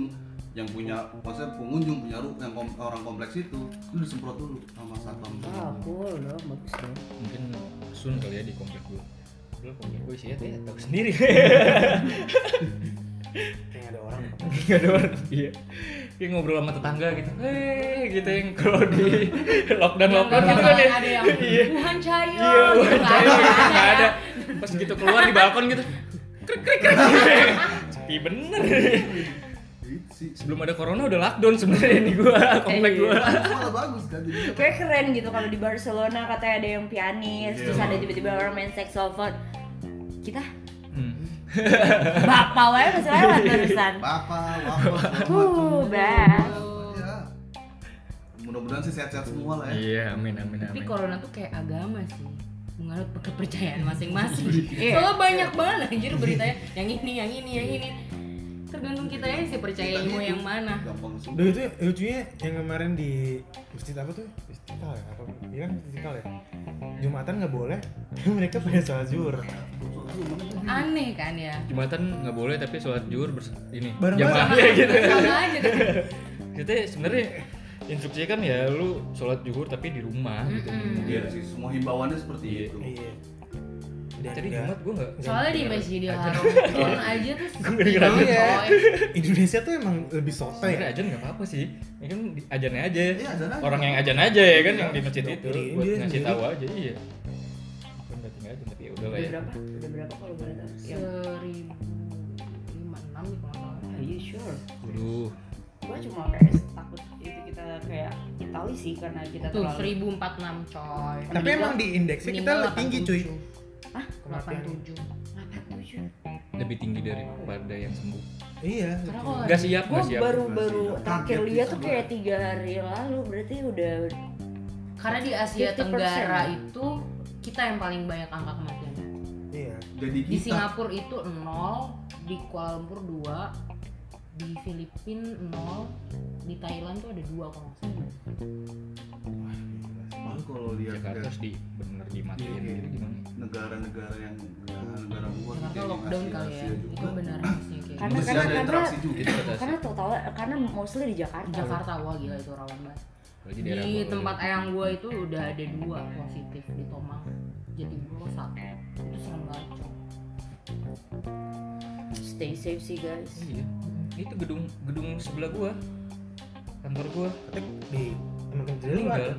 Speaker 5: yang punya maksudnya pengunjung punya ru- yang kom- orang kompleks itu lu disemprot dulu sama satpam
Speaker 1: Ah,
Speaker 3: Wah, cool loh, bagus dong.
Speaker 1: mungkin sun kali ya di komplek gue dulu komplek gue isinya ya tahu sendiri
Speaker 2: Kayak ada orang.
Speaker 1: nggak ada orang iya dia ngobrol sama tetangga gitu hei gitu yang kalau di lockdown
Speaker 4: Yang
Speaker 1: lockdown
Speaker 4: gak
Speaker 1: gitu
Speaker 4: bakalan
Speaker 1: kan ya
Speaker 4: ada yang
Speaker 1: Iya.
Speaker 4: Wuhan Chayo
Speaker 1: iya
Speaker 4: gitu
Speaker 1: wajar
Speaker 4: nggak ada,
Speaker 1: gitu, nggak
Speaker 4: ada
Speaker 1: ada
Speaker 4: ya.
Speaker 1: pas gitu keluar di balkon gitu krik krik krik sepi bener
Speaker 5: Itu sih
Speaker 1: sebelum ada corona udah lockdown sebenarnya di gua komplek
Speaker 3: Iya.
Speaker 1: gua
Speaker 5: malah bagus kan jadi
Speaker 3: kayak keren gitu kalau di Barcelona katanya ada yang pianis
Speaker 1: Iya,
Speaker 3: terus ada tiba-tiba orang main saxophone kita
Speaker 1: Hmm.
Speaker 3: bapak wae masih lewat barusan
Speaker 5: bapak wapak
Speaker 3: uh bah
Speaker 5: ya mudah-mudahan sih sehat-sehat semua lah ya
Speaker 1: iya amin amin
Speaker 4: Tapi
Speaker 1: amin
Speaker 4: corona tuh kayak agama sih menganut kepercayaan masing-masing.
Speaker 3: Iya.
Speaker 4: Soalnya banyak banget anjir beritanya yang ini, yang ini, yang ini. Tergantung kita ya sih percaya
Speaker 5: Tadi
Speaker 4: ilmu
Speaker 5: itu
Speaker 4: yang mana.
Speaker 5: gampang
Speaker 2: Duh
Speaker 5: sembuh
Speaker 2: itu lucunya yang kemarin di masjid apa tuh? Istiqlal ya? Apa? Iya kan Istiqlal ya? Jumatan nggak boleh, mereka pada sholat zuhur.
Speaker 4: Aneh kan ya.
Speaker 1: jumatan nggak boleh tapi sholat zuhur bers- ini
Speaker 2: Bareng
Speaker 1: jamaah
Speaker 4: Sama,
Speaker 1: ya gitu
Speaker 4: sama aja kan.
Speaker 1: kita sebenarnya instruksinya kan ya lu sholat zuhur tapi di rumah gitu
Speaker 4: Mm-mm.
Speaker 5: Iya sih semua himbauannya seperti
Speaker 1: Iya.
Speaker 5: itu
Speaker 2: Iya. Dan
Speaker 1: tadi
Speaker 2: nggak-
Speaker 1: jumat gua nggak
Speaker 4: Soalnya di Masjidil Haram pun aja tuh
Speaker 1: Gue dengeran.
Speaker 4: sepi
Speaker 2: Iya.
Speaker 4: banget, coy.
Speaker 2: Indonesia tuh emang lebih sotoy
Speaker 1: sebenarnya
Speaker 2: ya.
Speaker 1: ajan nggak apa-apa sih ya kan di- ajannya aja
Speaker 5: Iya, ajan aja.
Speaker 1: orang yang ajan aja ya kan yang di masjid itu
Speaker 2: Dokterin
Speaker 1: buat
Speaker 2: dia
Speaker 1: ngasih
Speaker 2: sendiri.
Speaker 1: tahu aja iya kan nggak tinggal aja tapi ya udah lah
Speaker 3: udah
Speaker 1: ya
Speaker 3: berapa udah berapa kalau boleh tahu
Speaker 4: Iya.
Speaker 3: yang
Speaker 4: seribu lima enam nih kalau nggak salah.
Speaker 3: are you sure
Speaker 1: Aduh,
Speaker 3: gue cuma kayak takut itu kita kayak Itali sih karena kita
Speaker 4: Tuh
Speaker 3: terlalu
Speaker 4: seribu empat enam coy.
Speaker 2: Tapi emang di indeksnya kita lebih tinggi cuy.
Speaker 3: Hah?
Speaker 4: Delapan
Speaker 2: Kematian.
Speaker 4: tujuh.
Speaker 1: lebih tinggi daripada yang sembuh.
Speaker 2: Iya.
Speaker 4: Karena kalau
Speaker 1: Gak siap,
Speaker 3: gue
Speaker 1: gak siap.
Speaker 3: Iya, baru
Speaker 5: Masih
Speaker 3: baru
Speaker 5: ada.
Speaker 3: terakhir
Speaker 5: Target
Speaker 3: lihat
Speaker 5: kita
Speaker 3: tuh kayak
Speaker 5: berapa?
Speaker 3: tiga hari lalu berarti udah
Speaker 4: Karena di Asia
Speaker 3: 50%.
Speaker 4: Tenggara itu kita yang paling banyak angka kematiannya.
Speaker 2: Iya.
Speaker 5: jadi
Speaker 4: Di
Speaker 5: kita
Speaker 4: Singapura itu 0, di Kuala Lumpur 2, di Filipina 0, di Thailand tuh ada 2 kalau nggak salah.
Speaker 5: Malah kalau lihat
Speaker 1: Jakarta harus di bener dimatiin
Speaker 5: Iya.
Speaker 1: gitu gimana?
Speaker 5: negara-negara yang negara-negara luar
Speaker 4: Jakarta
Speaker 5: kayak yang
Speaker 4: Hmm. lockdown
Speaker 5: Asia-
Speaker 4: kali ya.
Speaker 5: Asia
Speaker 4: Itu
Speaker 5: juga
Speaker 4: benar sih kayak
Speaker 3: Karena- karena-
Speaker 5: masih ada
Speaker 3: karena-
Speaker 5: interaksi juga
Speaker 1: Itu kata
Speaker 3: karena total karena mostly di Jakarta.
Speaker 4: Jakarta wah gila itu rawan banget.
Speaker 1: kalau di daerah
Speaker 4: Di
Speaker 1: gua-
Speaker 4: tempat ayang gua itu udah ada 2 positif di Tomang. Jadi gua satu. Itu serem banget. coy.
Speaker 3: Stay safe sih guys.
Speaker 1: Iya. Itu gedung gedung sebelah gua. Kantor gua
Speaker 2: Tapi di teman-teman jadi lu
Speaker 1: meninggal.
Speaker 2: ada.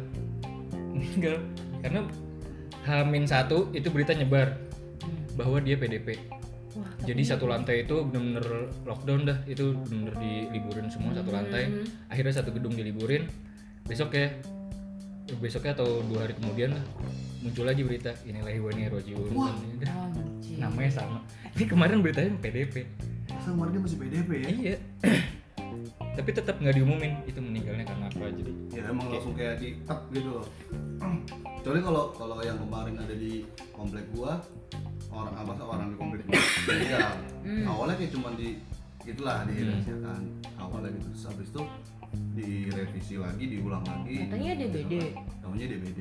Speaker 1: Meninggal karena Hamin satu itu berita nyebar
Speaker 4: Hmm.
Speaker 1: bahwa dia PDP.
Speaker 4: Wah, tapi-
Speaker 1: Jadi satu lantai itu bener-bener lockdown dah, itu bener-bener diliburin semua satu lantai.
Speaker 4: Hmm.
Speaker 1: Akhirnya satu gedung diliburin. Besok ya, besoknya atau dua hari kemudian lah, muncul lagi berita inilah Iwani Rojiun.
Speaker 4: Anjir.
Speaker 1: namanya sama ini kemarin beritanya PDP
Speaker 5: masa warga masih PDP ya
Speaker 1: iya tapi tetap nggak diumumin itu meninggalnya karena apa jadi
Speaker 5: ya emang langsung kayak di tep gitu loh kecuali kalau kalau yang kemarin ada di komplek gua orang abah orang di komplek gua meninggal
Speaker 4: Hmm.
Speaker 5: awalnya kayak cuma di itulah di kan awalnya gitu terus habis itu direvisi lagi diulang lagi Gitu kan.
Speaker 4: Katanya DBD.
Speaker 5: namanya DBD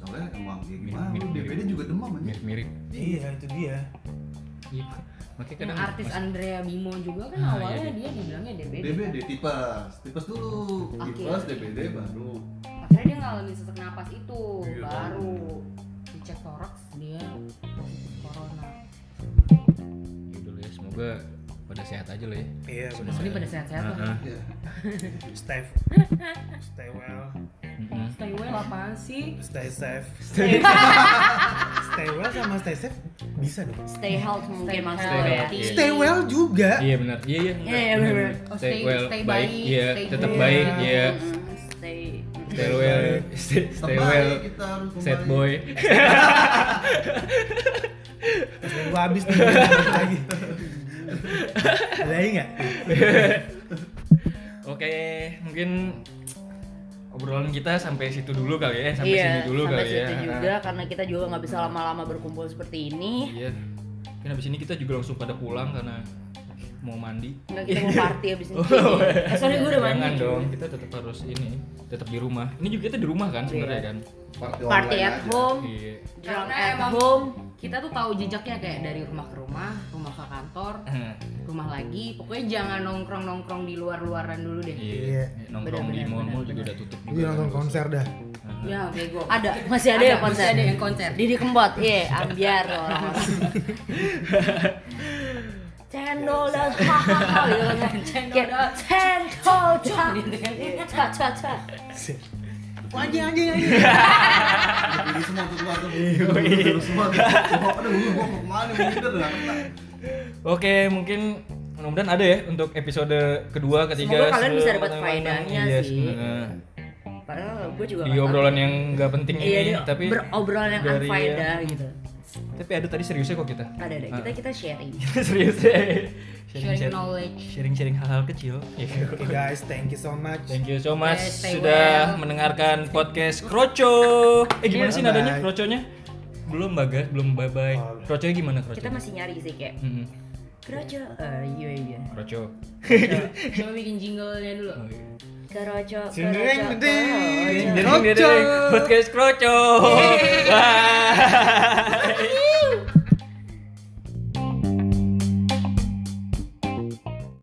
Speaker 5: soalnya emang ya gimana
Speaker 1: Mirip-
Speaker 5: lu
Speaker 1: mirip-
Speaker 5: DBD juga demam aja
Speaker 1: mirip mirip
Speaker 2: Iya itu dia.
Speaker 1: iya. makanya
Speaker 4: Yang
Speaker 1: kadang
Speaker 4: artis
Speaker 1: mas-
Speaker 4: Andrea Bimo juga kan
Speaker 1: Ah,
Speaker 4: awalnya
Speaker 1: iya,
Speaker 4: dia kan? dibilangnya DBD.
Speaker 5: DBD tipes tipes dulu
Speaker 4: Oke.
Speaker 5: tipes DBD baru
Speaker 4: Akhirnya dia ngalamin sesak napas itu
Speaker 5: Iya.
Speaker 4: baru dicek toraks dia positif corona.
Speaker 1: Nah, ya dulu ya semoga pada sehat aja lah ya
Speaker 2: Iya
Speaker 1: Sebenarnya.
Speaker 2: benar.
Speaker 4: Ini pada sehat-sehat lah.
Speaker 1: Heeh.
Speaker 5: ya
Speaker 2: Stay stay well,
Speaker 1: Mm-mm.
Speaker 4: Stay well apaan sih?
Speaker 2: stay safe.
Speaker 3: Stay,
Speaker 2: Stay well sama stay safe bisa dong.
Speaker 3: stay health mungkin maksud
Speaker 1: health.
Speaker 3: lo ya.
Speaker 1: Iya.
Speaker 2: Stay well juga.
Speaker 1: iya benar iya iya
Speaker 3: Iya, iya,
Speaker 1: benar, benar.
Speaker 3: benar.
Speaker 4: Oh,
Speaker 1: stay
Speaker 4: stay-
Speaker 1: well
Speaker 4: stay
Speaker 1: baik
Speaker 4: baik,
Speaker 1: iya
Speaker 4: stay
Speaker 1: tetap
Speaker 4: good.
Speaker 1: baik iya
Speaker 3: Mm-mm, Stay.
Speaker 1: stay well stay, stay
Speaker 5: Tetap
Speaker 1: well
Speaker 5: baik, kita harus
Speaker 1: sad
Speaker 5: kembali.
Speaker 1: boy
Speaker 2: Terus dari gua habis nih ngomong lagi. Ada lagi nggak?
Speaker 1: oke mungkin obrolan kita sampai situ dulu kali ya sampai sini dulu
Speaker 3: Iya, sampai
Speaker 1: kali
Speaker 3: situ
Speaker 1: ya
Speaker 3: juga karena kita juga nggak bisa lama-lama berkumpul seperti ini.
Speaker 1: Iya. Kan abis ini kita juga langsung pada pulang karena mau mandi.
Speaker 3: Nggak kita mau party abis ini.
Speaker 1: Iya. Oh,
Speaker 3: eh, sorry gue udah
Speaker 1: Jangan
Speaker 3: mandi.
Speaker 1: dong, kita tetap harus ini, tetap di rumah. Ini juga kita di rumah kan sebenarnya kan.
Speaker 5: Party
Speaker 3: Party
Speaker 5: online
Speaker 3: at
Speaker 5: aja.
Speaker 3: home,
Speaker 1: Iya.
Speaker 3: drunk
Speaker 4: Karena
Speaker 3: at
Speaker 4: emang-
Speaker 3: home.
Speaker 4: Kita tuh tahu jejaknya kayak dari rumah ke rumah, rumah ke kantor,
Speaker 1: Eh,
Speaker 4: rumah lagi. Pokoknya jangan nongkrong-nongkrong di luar-luaran dulu deh.
Speaker 1: Iya. Nongkrong di
Speaker 3: Benar-benar,
Speaker 1: mall-mall juga udah tutup juga. kan.
Speaker 2: Gue nonton konser dah.
Speaker 3: Iya.
Speaker 4: Ya, bego.
Speaker 3: Ada, masih ada, ya konser.
Speaker 4: Masih ada yang konser.
Speaker 3: Didi Kempot, iya, ambiar loh orang-orang. Cendol
Speaker 1: Iya,
Speaker 3: dan hahaha gitu kan.
Speaker 4: Cendol
Speaker 3: Kayak,
Speaker 4: dan-
Speaker 3: Cendol dan
Speaker 4: Gitu kan.
Speaker 3: ca ca ca.
Speaker 2: Anjing anjing anjing.
Speaker 5: Ini semua tuh keluar tuh. Terus semua. tuh. Aduh, gua mau kemana? Mau minder nggak kena.
Speaker 1: Oke, mungkin mudah-mudahan ada ya untuk episode kedua ketiga
Speaker 3: Semoga kalian bisa dapat
Speaker 1: semacam-
Speaker 3: faedahnya
Speaker 1: iya,
Speaker 3: sih.
Speaker 1: semoga.
Speaker 3: Padahal gue juga
Speaker 1: di
Speaker 3: nggak tahu.
Speaker 1: obrolan yang nggak penting
Speaker 3: iya,
Speaker 1: ini
Speaker 3: di
Speaker 1: tapi
Speaker 3: berobrolan yang
Speaker 1: dari-
Speaker 3: unfaedah gitu.
Speaker 1: tapi ada tadi seriusnya kok kita
Speaker 3: Ada ada
Speaker 1: Ah.
Speaker 3: kita kita sharing.
Speaker 1: serius deh
Speaker 4: sharing knowledge
Speaker 1: sharing sharing hal-hal kecil Iya.
Speaker 2: Oke guys, thank you so much.
Speaker 1: Thank you so much
Speaker 4: Yes, stay
Speaker 1: sudah
Speaker 4: well.
Speaker 1: mendengarkan podcast Kroco. Eh gimana sih
Speaker 2: Bye-bye.
Speaker 1: nadanya Kroconya? Belum bagas, belum bye bye.
Speaker 2: Oh.
Speaker 1: Kroconya gimana Kroco?
Speaker 3: Kita masih nyari sih kayak
Speaker 1: Mm-mm.
Speaker 3: keroco, eh iya iya,
Speaker 1: Kroco.
Speaker 4: coba bikin jinglenya dulu
Speaker 1: Oh, iya.
Speaker 3: keroco,
Speaker 2: Sering
Speaker 3: keroco,
Speaker 2: ding.
Speaker 3: keroco.
Speaker 1: Jadi podcast Kroco. Bye.